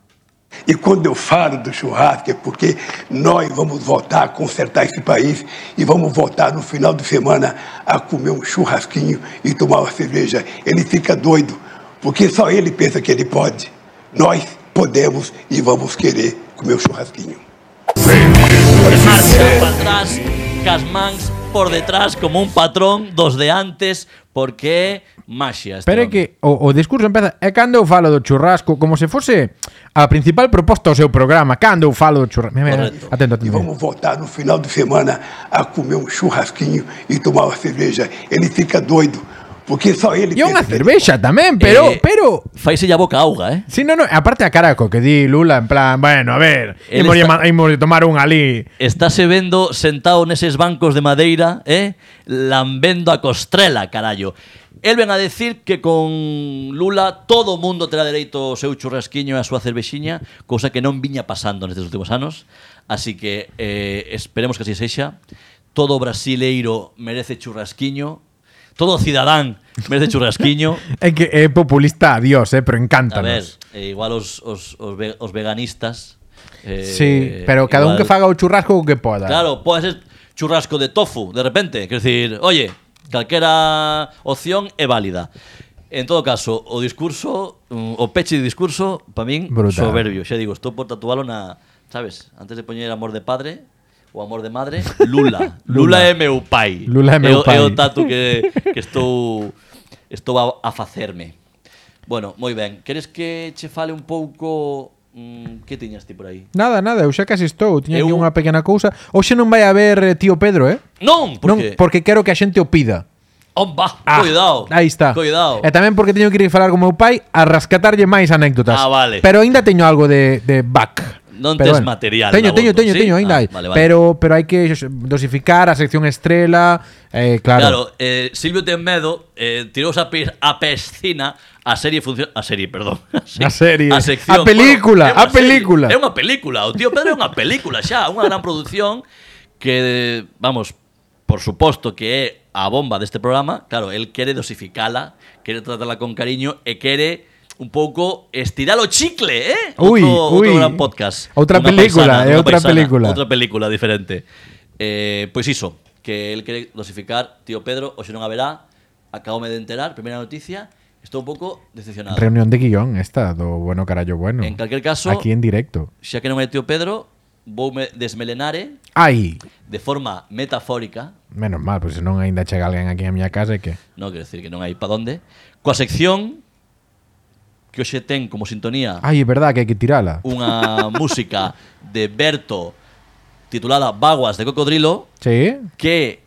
[SPEAKER 6] E quando eu falo do churrasco é porque nós vamos voltar a consertar esse país e vamos voltar no final de semana a comer um churrasquinho e tomar uma cerveja. Ele fica doido, porque só ele pensa que ele pode. Nós podemos e vamos querer comer um churrasquinho.
[SPEAKER 2] marcha para atrás, cas mans por detrás como un patrón dos de antes, porque é maxia. este
[SPEAKER 1] Pero é
[SPEAKER 2] home.
[SPEAKER 1] que o, o discurso "Eh, empeza É cando eu falo do churrasco Como se fose a principal proposta do seu programa Cando eu falo do churrasco Mira, mira,
[SPEAKER 2] Correcto.
[SPEAKER 1] Atento,
[SPEAKER 6] E
[SPEAKER 1] atento
[SPEAKER 6] vamos voltar no final de semana a comer um churrasquinho e tomar uma cerveja. Ele fica doido, Porque só ele
[SPEAKER 1] E unha
[SPEAKER 6] pensa nisso.
[SPEAKER 1] cervexa tamén, pero
[SPEAKER 2] Eh,
[SPEAKER 1] pero
[SPEAKER 2] Faise ya boca auga, eh?
[SPEAKER 1] Si, no, no, aparte a Caraco que di Lula en plan, bueno, a ver,
[SPEAKER 2] Él
[SPEAKER 1] imos
[SPEAKER 2] está-
[SPEAKER 1] lle ma- imos lle tomar un ali.
[SPEAKER 2] Estáse vendo sentado neses bancos de madeira, eh? Lambendo a costrela, carallo. El ven a decir que con Lula todo o mundo terá dereito ao seu churrasquiño e a súa cervexiña, cousa que non viña pasando nestes últimos anos. Así que eh, esperemos que así sexa. Todo brasileiro merece churrasquiño. Todo cidadán merece churrasquiño.
[SPEAKER 1] É que é populista, adiós, eh, pero
[SPEAKER 2] A ver,
[SPEAKER 1] encántanos.
[SPEAKER 2] eh, igual os, os, os, ve- os veganistas... eh,
[SPEAKER 1] sí, pero cada un
[SPEAKER 2] igual-
[SPEAKER 1] que faga o churrasco o que poda.
[SPEAKER 2] Claro, pode ser churrasco de tofu, de repente. Quer decir, oye, calquera opción é válida. En todo caso, o discurso, mm, o peche de discurso, para min,
[SPEAKER 1] Brutal.
[SPEAKER 2] soberbio. Xa digo, estou por tatualo na, sabes, antes de poñer amor de padre, o amor de madre, Lula. Lula é meu pai.
[SPEAKER 1] Lula é meu
[SPEAKER 2] o- É o
[SPEAKER 1] pai.
[SPEAKER 2] tatu que, que estou estou a, a facerme. Bueno, moi ben. Queres que che fale un pouco mm, que tiñas ti por aí?
[SPEAKER 1] Nada, nada, eu xa casi estou, tiña
[SPEAKER 2] Eu-
[SPEAKER 1] aquí unha pequena cousa. Hoxe non vai haber eh, tío Pedro, eh? non,
[SPEAKER 2] Non, porque
[SPEAKER 1] porque quero que a xente o pida.
[SPEAKER 2] Omba,
[SPEAKER 1] Ah,
[SPEAKER 2] cuidado.
[SPEAKER 1] Aí está.
[SPEAKER 2] Cuidado.
[SPEAKER 1] E tamén porque teño que ir falar con meu pai a rascatarlle máis anécdotas.
[SPEAKER 2] Ah, vale.
[SPEAKER 1] Pero aínda teño algo de, de back.
[SPEAKER 2] Non
[SPEAKER 1] Pero
[SPEAKER 2] tes material
[SPEAKER 1] Teño,
[SPEAKER 2] na
[SPEAKER 1] teño,
[SPEAKER 2] boca,
[SPEAKER 1] teño,
[SPEAKER 2] sí?
[SPEAKER 1] teño, aínda
[SPEAKER 2] Ah,
[SPEAKER 1] hai.
[SPEAKER 2] vale, vale.
[SPEAKER 1] Pero, pero hai que xos- dosificar a sección estrela, eh, claro.
[SPEAKER 2] Claro, eh, Silvio ten medo, eh, tirouse a, pe- a piscina a serie funciona a serie, perdón. A, se-
[SPEAKER 1] A serie.
[SPEAKER 2] A sección.
[SPEAKER 1] A película,
[SPEAKER 2] é unha
[SPEAKER 1] a película.
[SPEAKER 2] serie, É unha película, o tío Pedro é unha película xa, unha gran produción que, vamos, por suposto que é a bomba deste programa, claro, el quere dosificala, quere tratarla con cariño e quere un pouco estirar o chicle, eh?
[SPEAKER 1] Ui,
[SPEAKER 2] outro, outro
[SPEAKER 1] ui.
[SPEAKER 2] gran podcast.
[SPEAKER 1] Outra
[SPEAKER 2] Unha
[SPEAKER 1] película,
[SPEAKER 2] paisana,
[SPEAKER 1] é
[SPEAKER 2] unha
[SPEAKER 1] outra
[SPEAKER 2] paisana,
[SPEAKER 1] película.
[SPEAKER 2] Outra película diferente. Eh, pois iso, que el quere dosificar tío Pedro, o se non haberá, acabome de enterar, primeira noticia, estou un pouco decepcionado.
[SPEAKER 1] Reunión de guión esta do Bueno Carallo Bueno.
[SPEAKER 2] En calquer caso-
[SPEAKER 1] Aquí en directo.
[SPEAKER 2] Xa que non é tío Pedro, voume desmelenare
[SPEAKER 1] Ai,
[SPEAKER 2] de forma metafórica,
[SPEAKER 1] menos mal, pues porque senón aínda chega alguén aquí a miña casa e que...
[SPEAKER 2] non quero decir que non hai pa onde, coa sección que hoxe ten como sintonía
[SPEAKER 1] Ai, é verdad que hai que tirala.
[SPEAKER 2] unha música de Berto titulada Baguas de Cocodrilo,
[SPEAKER 1] Sí?
[SPEAKER 2] que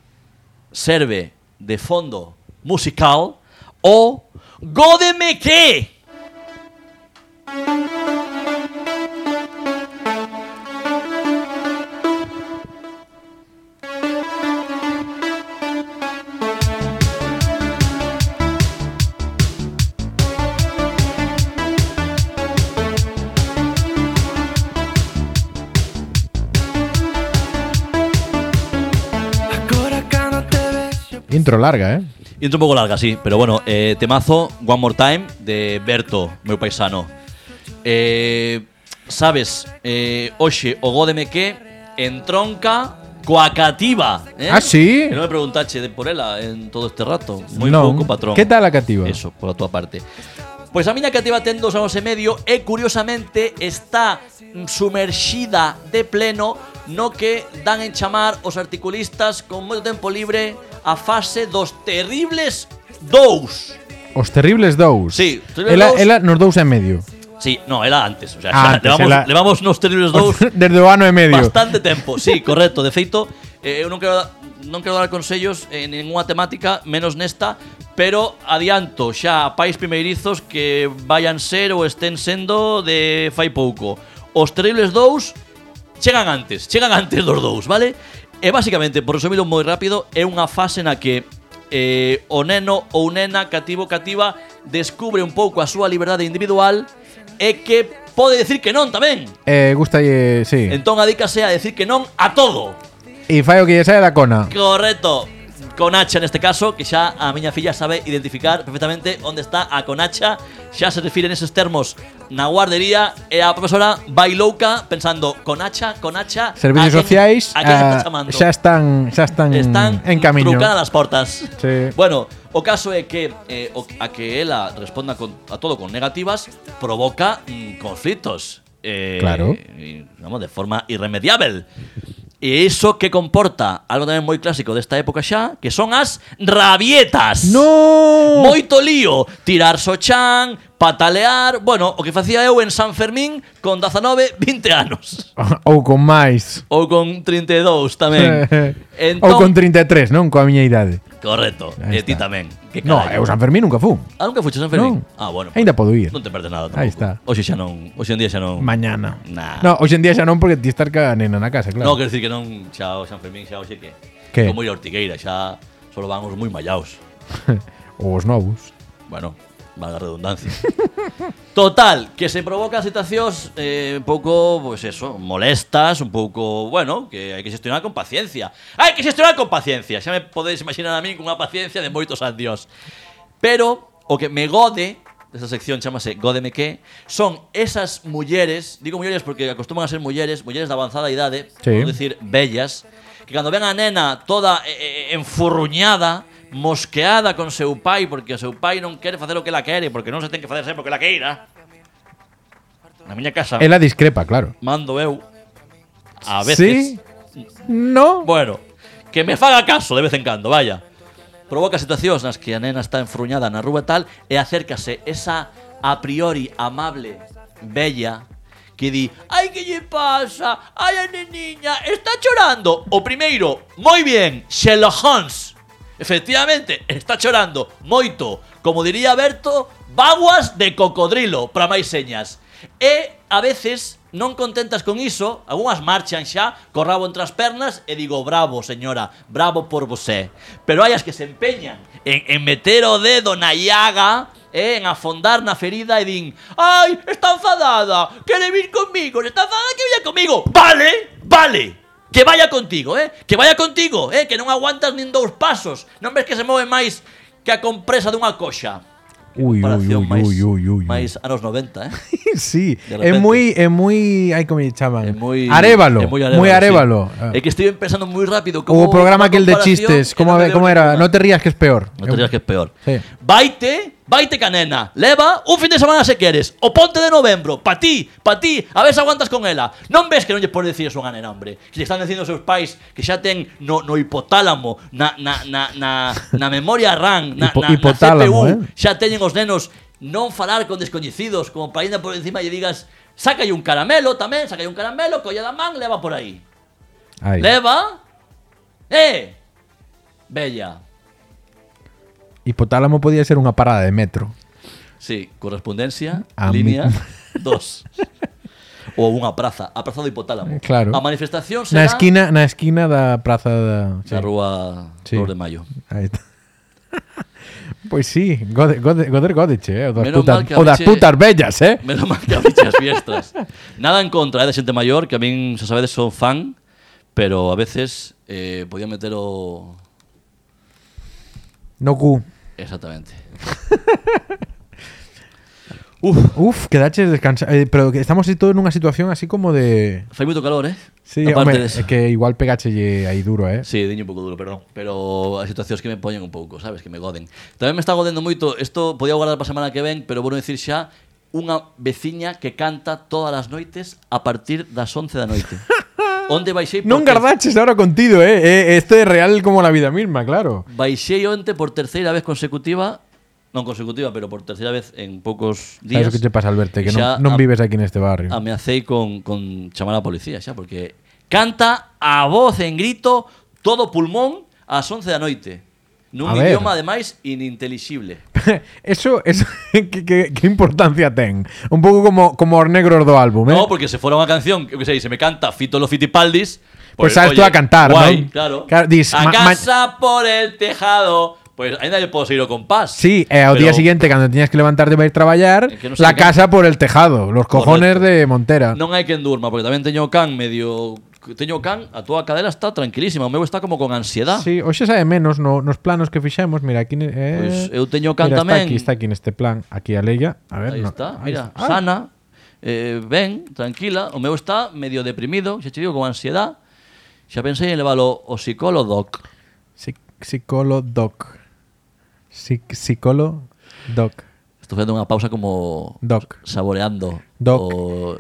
[SPEAKER 2] serve de fondo musical o Gódeme qué.
[SPEAKER 1] Intro larga, eh?
[SPEAKER 2] Intro un pouco larga, sí, pero bueno, eh, temazo One More Time de Berto, meu paisano. Eh, sabes, eh, hoxe o Gódeme que entronca coa cativa. Eh?
[SPEAKER 1] Ah, sí?
[SPEAKER 2] Que non me preguntache de por ela en todo este rato. Moi
[SPEAKER 1] Non.
[SPEAKER 2] pouco, patrón.
[SPEAKER 1] Que tal a cativa?
[SPEAKER 2] Eso, por a tua parte. Pues Pois a miña cativa ten dos anos e medio e curiosamente está sumerxida de pleno no que dan en chamar os articulistas con moito tempo libre a fase dos terribles dous.
[SPEAKER 1] Os terribles dous.
[SPEAKER 2] Sí, Terribles
[SPEAKER 1] ela,
[SPEAKER 2] Dous.
[SPEAKER 1] ela nos dous e medio.
[SPEAKER 2] Sí, no, era antes, o sea,
[SPEAKER 1] Ah,
[SPEAKER 2] xa
[SPEAKER 1] antes,
[SPEAKER 2] levamos,
[SPEAKER 1] ela-
[SPEAKER 2] levamos nos terribles dous
[SPEAKER 1] Desde o ano e medio.
[SPEAKER 2] Bastante tempo, sí, correcto. De feito, eh, eu non quero da- non quero dar consellos eh, en ninguna temática, menos nesta, pero adianto xa a pais primeirizos que vayan ser ou estén sendo de fai pouco. Os terribles dous chegan antes, chegan antes dos dous, vale? E basicamente, por resumilo moi rápido, é unha fase na que eh, o neno ou nena cativo cativa descubre un pouco a súa liberdade individual e que pode decir que non tamén.
[SPEAKER 1] Eh, gusta lle, sí.
[SPEAKER 2] Entón adícase a decir que non a todo.
[SPEAKER 1] E fai o que lle saia da cona.
[SPEAKER 2] Correcto. Conacha neste este caso, que xa a miña filla sabe identificar perfectamente onde está a conacha, xa se refire neses termos na guardería e a profesora vai louca pensando conacha, conacha,
[SPEAKER 1] Servicios
[SPEAKER 2] a quen-
[SPEAKER 1] sociais
[SPEAKER 2] a quen está
[SPEAKER 1] ah,
[SPEAKER 2] chamando?
[SPEAKER 1] xa están xa están,
[SPEAKER 2] están
[SPEAKER 1] en camiño.
[SPEAKER 2] trucadas as portas.
[SPEAKER 1] Sí.
[SPEAKER 2] Bueno, o caso é que eh, o, a que ela responda con, a todo con negativas provoca mm, conflitos. Eh,
[SPEAKER 1] Claro.
[SPEAKER 2] eh, Vamos, de forma irremediável. E iso que comporta algo tamén moi clásico desta época xa, que son as rabietas.
[SPEAKER 1] No!
[SPEAKER 2] Moito lío, tirar sochán, patalear, bueno, o que facía eu en San Fermín con 19, 20 anos.
[SPEAKER 1] Ou con máis.
[SPEAKER 2] Ou con 32 tamén.
[SPEAKER 1] Ou con
[SPEAKER 2] Entón-
[SPEAKER 1] 33, non? Coa miña idade.
[SPEAKER 2] Correcto.
[SPEAKER 1] Ahí
[SPEAKER 2] E ti
[SPEAKER 1] está.
[SPEAKER 2] tamén. Que
[SPEAKER 1] No,
[SPEAKER 2] carallo.
[SPEAKER 1] eu San Fermín nunca fun.
[SPEAKER 2] Ah, nunca fuches a San Fermín?
[SPEAKER 1] Non.
[SPEAKER 2] Ah, bueno.
[SPEAKER 1] Ainda podo ir.
[SPEAKER 2] Non te perdes nada tampouco.
[SPEAKER 1] Aí está.
[SPEAKER 2] Hoxe xa non, hoxe en día xa non.
[SPEAKER 1] Mañana.
[SPEAKER 2] Nah.
[SPEAKER 1] No, hoxe en día xa non porque ti estar ca nena na casa, claro.
[SPEAKER 2] No, quero dicir que non xa o San Fermín xa hoxe que
[SPEAKER 1] Que?
[SPEAKER 2] como ir a Ortigueira, xa solo van os moi mallaos.
[SPEAKER 1] Os novos.
[SPEAKER 2] Bueno, valga a redundancia. Total, que se provocan situacións eh, un pouco, pois pues eso, molestas, un pouco, bueno, que hai que xestionar con paciencia. Hai que xestionar con paciencia. Xa me podedes imaginar a min cunha paciencia de moitos adiós. Pero o que me gode Esta sección chamase Gódeme que Son esas mulleres Digo mulleres porque acostuman a ser mulleres Mulleres de avanzada idade
[SPEAKER 1] Sí.
[SPEAKER 2] Vamos dicir, bellas Que cando ven a nena toda eh, eh, enfurruñada Mosqueada con seu pai Porque o seu pai non quere facer o que ela quere Porque non se ten que facer sempre o que ela queira Na miña casa
[SPEAKER 1] Ela discrepa, claro.
[SPEAKER 2] Mando eu A veces
[SPEAKER 1] Sí? No.
[SPEAKER 2] Bueno, que me faga caso de vez en cando, vaya. Provoca situacións nas que a nena está enfruñada na rúa e tal e acércase esa a priori amable, bella, que di Ai, que lle pasa? Ai, a neniña, está chorando O primeiro, moi bien, Sherlock Holmes Efectivamente, está chorando moito Como diría Berto, baguas de cocodrilo Para máis señas E a veces non contentas con iso, algunhas marchan xa, co rabo entre as pernas e digo bravo, señora, bravo por vosé. Pero hai as que se empeñan en, en meter o dedo na llaga eh, en afondar na ferida e din Ai, está enfadada, quere vir comigo, está enfadada que vaya comigo Vale, vale, que vaya contigo, eh Que vaya contigo, eh que non aguantas nin dous pasos Non ves que se move máis que a compresa dunha coxa
[SPEAKER 1] Ui, ui,
[SPEAKER 2] Comparación
[SPEAKER 1] ui,
[SPEAKER 2] máis,
[SPEAKER 1] ui, ui, ui.
[SPEAKER 2] máis anos 90, eh
[SPEAKER 1] sí, é
[SPEAKER 2] De repente.
[SPEAKER 1] moi é moi, ai como lle chaman?
[SPEAKER 2] É moi
[SPEAKER 1] Arévalo,
[SPEAKER 2] é
[SPEAKER 1] moi
[SPEAKER 2] arévalo. sí.
[SPEAKER 1] arévalo. Ah.
[SPEAKER 2] É que estoy pensando moi rápido
[SPEAKER 1] O
[SPEAKER 2] como
[SPEAKER 1] programa aquel de chistes, como, a ver, como era? No
[SPEAKER 2] No
[SPEAKER 1] te rías que es peor.
[SPEAKER 2] no te digas que es peor.
[SPEAKER 1] Sí.
[SPEAKER 2] Vaite, vaite canena. Leva un fin de semana se queres. O ponte de novembro. Pa ti, pa ti. A ver se aguantas con ela. Non ves que non lle podes decir eso a unha nena, hombre. Que lle están dicindo os seus pais que xa ten no, no hipotálamo, na, na, na, na, na memoria RAM, na,
[SPEAKER 1] Hipo-
[SPEAKER 2] na, na
[SPEAKER 1] hipotálamo,
[SPEAKER 2] CPU.
[SPEAKER 1] eh.
[SPEAKER 2] Xa teñen os nenos non falar con descoñecidos como para ainda por encima e lle digas Sácalle un caramelo tamén, sácalle un caramelo, colla da man, leva por aí.
[SPEAKER 1] Ai.
[SPEAKER 2] Leva. Eh! Bella.
[SPEAKER 1] Hipotálamo podía ser unha parada de metro.
[SPEAKER 2] Sí, correspondencia,
[SPEAKER 1] A mí.
[SPEAKER 2] línea 2. Ou unha praza, a praza do hipotálamo.
[SPEAKER 1] Claro.
[SPEAKER 2] A manifestación
[SPEAKER 1] Na
[SPEAKER 2] será
[SPEAKER 1] esquina, na esquina da praza da,
[SPEAKER 2] na rúa
[SPEAKER 1] Sí.
[SPEAKER 2] 2 de Maio.
[SPEAKER 1] Aí está. pois sí, Goder Goder, Goder Godeche, eh, o das
[SPEAKER 2] Menos
[SPEAKER 1] putas,
[SPEAKER 2] mal que a
[SPEAKER 1] o das
[SPEAKER 2] veces-
[SPEAKER 1] putas bellas, eh.
[SPEAKER 2] Menos mal que afiche as fiestas. Nada en contra eh, da xente maior, que a min, xa sabedes, son fan, pero a veces eh, podía meter o...
[SPEAKER 1] No cu.
[SPEAKER 2] Exactamente.
[SPEAKER 1] Uf, quedaches descansar, eh, pero que estamos todos nunha situación así como de
[SPEAKER 2] Fai moito calor, eh?
[SPEAKER 1] Sí,
[SPEAKER 2] Aparte
[SPEAKER 1] home,
[SPEAKER 2] de eso.
[SPEAKER 1] é que igual pegachelle aí duro, eh.
[SPEAKER 2] Sí, diño un pouco duro, perdón Pero as situacións que me poñen un pouco, sabes? Que me goden Tamén me está godendo moito Isto podía guardar para a semana que ven Pero vou dicir xa Unha veciña que canta todas as noites A partir das 11 da noite Onde baixei por
[SPEAKER 1] Non
[SPEAKER 2] ter-
[SPEAKER 1] gardaches ahora contido, eh. eh, Esto é real como la vida misma, claro.
[SPEAKER 2] Baixei onte por terceira vez consecutiva Non consecutiva, pero por terceira vez en poucos días e
[SPEAKER 1] Sabes o que te pasa, Alberto, que
[SPEAKER 2] Xa
[SPEAKER 1] non, non
[SPEAKER 2] a-
[SPEAKER 1] vives aquí neste barrio.
[SPEAKER 2] Ameacei Ah, con, con chamar a policía xa Porque canta a voz en grito Todo pulmón ás 11 da noite
[SPEAKER 1] A
[SPEAKER 2] Nun
[SPEAKER 1] ver.
[SPEAKER 2] idioma ademais inintelixible
[SPEAKER 1] eso, eso que, que- que importancia ten? Un pouco como como os negros do álbum, eh.
[SPEAKER 2] No, porque se fuera una canción, yo qué sé, y se me canta Fito los Fitipaldis.
[SPEAKER 1] Pues sabes tú a cantar,
[SPEAKER 2] guay,
[SPEAKER 1] ¿no?
[SPEAKER 2] Claro.
[SPEAKER 1] Claro, dis-
[SPEAKER 2] a
[SPEAKER 1] ma- ma-
[SPEAKER 2] casa por el tejado. Pues ainda le puedo seguir o compás.
[SPEAKER 1] Sí, eh, ao
[SPEAKER 2] Pero-
[SPEAKER 1] día siguiente cando tiñas que levantarte para ir traballar,
[SPEAKER 2] É que non sei
[SPEAKER 1] la
[SPEAKER 2] que-
[SPEAKER 1] casa por el tejado, los cojones
[SPEAKER 2] Correcto.
[SPEAKER 1] de Montera.
[SPEAKER 2] Non hai quen durma, porque tamén teño o can medio... Teño o can, a túa cadela está tranquilísima, o meu está como con ansiedad.
[SPEAKER 1] Sí, hoxe sabe menos no, nos planos que fixemos, mira, aquí ne- eh,
[SPEAKER 2] Pois Pues eu teño can
[SPEAKER 1] mira, Está
[SPEAKER 2] tamén.
[SPEAKER 1] aquí, está aquí neste plan, aquí a Leia, a ver,
[SPEAKER 2] Aí
[SPEAKER 1] no,
[SPEAKER 2] está,
[SPEAKER 1] aí está.
[SPEAKER 2] mira,
[SPEAKER 1] Ah,
[SPEAKER 2] sana, eh, ben, tranquila, o meu está medio deprimido, xa che digo, con ansiedad. Xa pensei en leválo ao psicólogo doc.
[SPEAKER 1] Psic psicolo doc. Psic psicolo doc.
[SPEAKER 2] Estou facendo unha pausa como
[SPEAKER 1] Doc.
[SPEAKER 2] saboreando
[SPEAKER 1] Doc.
[SPEAKER 2] o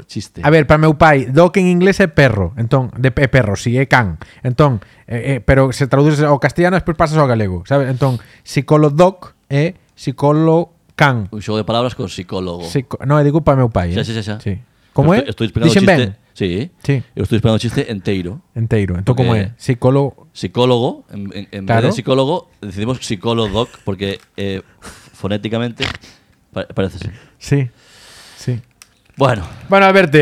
[SPEAKER 2] chiste.
[SPEAKER 1] A ver, para meu pai, doc en inglés é perro, entón, de é perro, si sí, é can. Entón, eh, eh, pero se traduce ao castellano, despois pasas ao galego, sabes? Entón, psicolo doc é psicolo can.
[SPEAKER 2] Oh. un xogo de palabras con psicólogo.
[SPEAKER 1] Psico... No, digo para meu pai. eh.
[SPEAKER 2] Xa, xa, xa, xa.
[SPEAKER 1] Sí. Como é?
[SPEAKER 2] eu estou esperando
[SPEAKER 1] Dixen
[SPEAKER 2] o chiste.
[SPEAKER 1] ben.
[SPEAKER 2] Sí.
[SPEAKER 1] Sí.
[SPEAKER 2] Eu estou esperando o chiste inteiro.
[SPEAKER 1] Enteiro. Entón, como
[SPEAKER 2] Porque-
[SPEAKER 1] é? Psicólogo.
[SPEAKER 2] Psicólogo, en, en- en
[SPEAKER 1] Claro.
[SPEAKER 2] vez de psicólogo, decidimos psicólogo porque eh, fonéticamente pa- parece ser.
[SPEAKER 1] Sí. Sí.
[SPEAKER 2] Bueno,
[SPEAKER 1] Bueno, Alberto,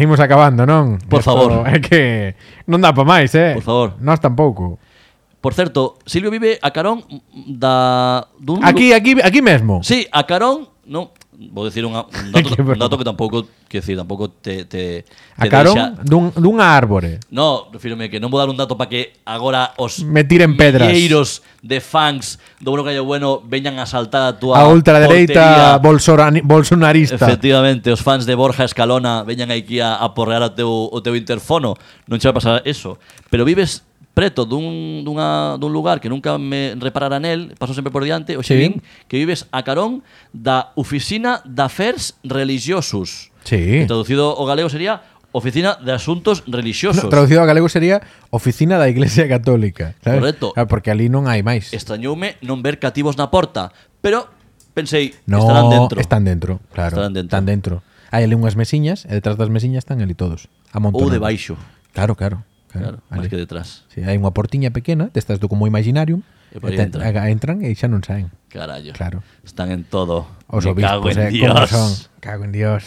[SPEAKER 1] imos acabando, non?
[SPEAKER 2] Por
[SPEAKER 1] Esto
[SPEAKER 2] favor.
[SPEAKER 1] É que non dá para máis, eh?
[SPEAKER 2] Por favor.
[SPEAKER 1] Nós tampouco.
[SPEAKER 2] por certo, Silvio vive a carón mm, da dun
[SPEAKER 1] Aquí, aquí, aquí mesmo.
[SPEAKER 2] Sí, a carón, non, vou decir unha- un dato,
[SPEAKER 1] Que
[SPEAKER 2] un
[SPEAKER 1] broma.
[SPEAKER 2] dato que tampouco, que decir, tampouco te, te, te
[SPEAKER 1] a carón
[SPEAKER 2] deixa-
[SPEAKER 1] dun, dunha árbore.
[SPEAKER 2] No, refírome que non vou dar un dato para que agora os
[SPEAKER 1] Me tiren pedras.
[SPEAKER 2] milleiros de fans do Bueno Callo Bueno veñan a saltar a tua
[SPEAKER 1] a ultradereita
[SPEAKER 2] portería.
[SPEAKER 1] bolsorani- bolsonarista.
[SPEAKER 2] Efectivamente, os fans de Borja Escalona veñan aquí a aporrear o teu, o teu interfono Non che vai pasar eso Pero vives preto dun, dunha, dun lugar que nunca me reparara nel Paso sempre por diante
[SPEAKER 1] Sí.
[SPEAKER 2] Oxe vin que vives a carón da oficina da Fers Religiosus
[SPEAKER 1] Sí.
[SPEAKER 2] que Traducido o galego sería Oficina de Asuntos Religiosos
[SPEAKER 1] No, traducido a galego sería Oficina da Iglesia Católica. ¿sabes?
[SPEAKER 2] Correcto.
[SPEAKER 1] Ah, porque ali non hai máis.
[SPEAKER 2] Extrañoume non ver cativos na porta Pero pensei,
[SPEAKER 1] no,
[SPEAKER 2] estarán dentro
[SPEAKER 1] Están dentro, claro.
[SPEAKER 2] Estarán dentro.
[SPEAKER 1] Están dentro. Hai ali unhas mesiñas e detrás das mesiñas están ali todos.
[SPEAKER 2] Ou
[SPEAKER 1] amontonados.
[SPEAKER 2] debaixo
[SPEAKER 1] Claro, claro. claro,
[SPEAKER 2] Claro, máis
[SPEAKER 1] ali.
[SPEAKER 2] que detrás
[SPEAKER 1] Sí, hai unha portiña pequena, destas do como imaginarium,
[SPEAKER 2] E por aí
[SPEAKER 1] te-
[SPEAKER 2] entran.
[SPEAKER 1] aga- entran e xa non saen.
[SPEAKER 2] Carallo.
[SPEAKER 1] Claro.
[SPEAKER 2] Están en todo.
[SPEAKER 1] Os
[SPEAKER 2] Me
[SPEAKER 1] obispos,
[SPEAKER 2] cago en
[SPEAKER 1] eh, como son.
[SPEAKER 2] Dios.
[SPEAKER 1] Cago en Dios.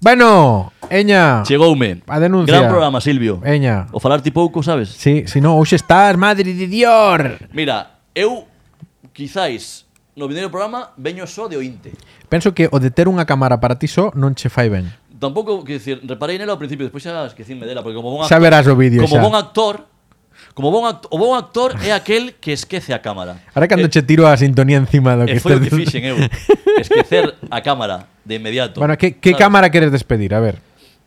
[SPEAKER 1] Bueno, Eña.
[SPEAKER 2] Chegoume.
[SPEAKER 1] A denuncia.
[SPEAKER 2] Gran programa, Silvio.
[SPEAKER 1] Veña.
[SPEAKER 2] O falar ti pouco, sabes?
[SPEAKER 1] Sí, si no, hoxe estás, madre de Dior.
[SPEAKER 2] Mira, eu quizáis no vindeiro programa veño só de ointe.
[SPEAKER 1] Penso que o de ter unha cámara para ti só non che fai ben.
[SPEAKER 2] Tampouco, quero dicir, reparei nela ao principio, despois xa esquecíme dela, porque como bon
[SPEAKER 1] Xa verás o vídeo
[SPEAKER 2] Como
[SPEAKER 1] xa.
[SPEAKER 2] bon actor, como bon act o bon actor é aquel que esquece a cámara.
[SPEAKER 1] Ahora cando
[SPEAKER 2] Eh,
[SPEAKER 1] che tiro a sintonía encima do
[SPEAKER 2] E
[SPEAKER 1] que
[SPEAKER 2] foi o que
[SPEAKER 1] estes-
[SPEAKER 2] fixen eu Esquecer a cámara de inmediato
[SPEAKER 1] Bueno, que, que
[SPEAKER 2] Sabes?
[SPEAKER 1] cámara queres despedir? A ver.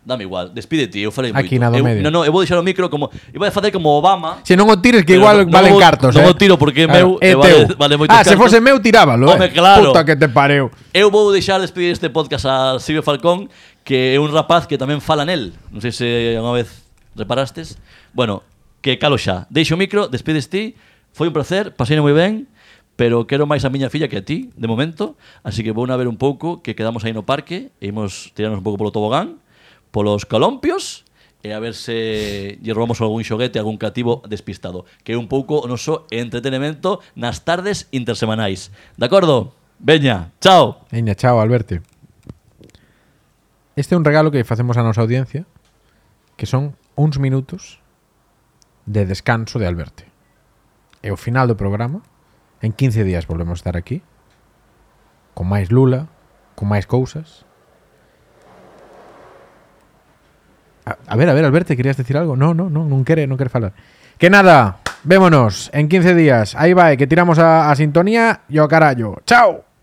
[SPEAKER 2] Dame igual, despídete, eu falei
[SPEAKER 1] Aquí
[SPEAKER 2] moito.
[SPEAKER 1] na do
[SPEAKER 2] eu,
[SPEAKER 1] medio.
[SPEAKER 2] Non, non, eu vou deixar o micro como Iba a facer como Obama
[SPEAKER 1] Se non o tires que
[SPEAKER 2] Pero
[SPEAKER 1] igual
[SPEAKER 2] non
[SPEAKER 1] valen
[SPEAKER 2] o-
[SPEAKER 1] cartos, eh.
[SPEAKER 2] non o tiro porque é meu,
[SPEAKER 1] é
[SPEAKER 2] e vale-
[SPEAKER 1] teu.
[SPEAKER 2] vale moitos
[SPEAKER 1] Ah, se
[SPEAKER 2] cartos.
[SPEAKER 1] fose meu tirábalo, eh.
[SPEAKER 2] Home, claro.
[SPEAKER 1] Puta que te pareu.
[SPEAKER 2] Eu vou deixar despedir este podcast a Silvio Falcón Que é un rapaz que tamén fala nel Non sei se unha vez reparastes Bueno, que calo xa Deixo o micro, despides ti Foi un placer, pasei moi ben Pero quero máis a miña filla que a ti, de momento Así que vou na ver un pouco que quedamos aí no parque E imos tirarnos un pouco polo tobogán Polos colompios E a ver se lle robamos algún xoguete Algún cativo despistado Que é un pouco o noso entretenimento Nas tardes intersemanais De acordo? Veña, chao
[SPEAKER 1] Veña, chao, Alberto. Este é un regalo que facemos a nosa audiencia que son uns minutos de descanso de Alberto. E o final do programa en 15 días volvemos a estar aquí con máis lula, con máis cousas. A, a ver, a ver, Alberto, querías decir algo? No, no, no, non quere, non quere falar. Que nada, vémonos en 15 días. Aí vai, que tiramos a, a sintonía e o carallo. Chao.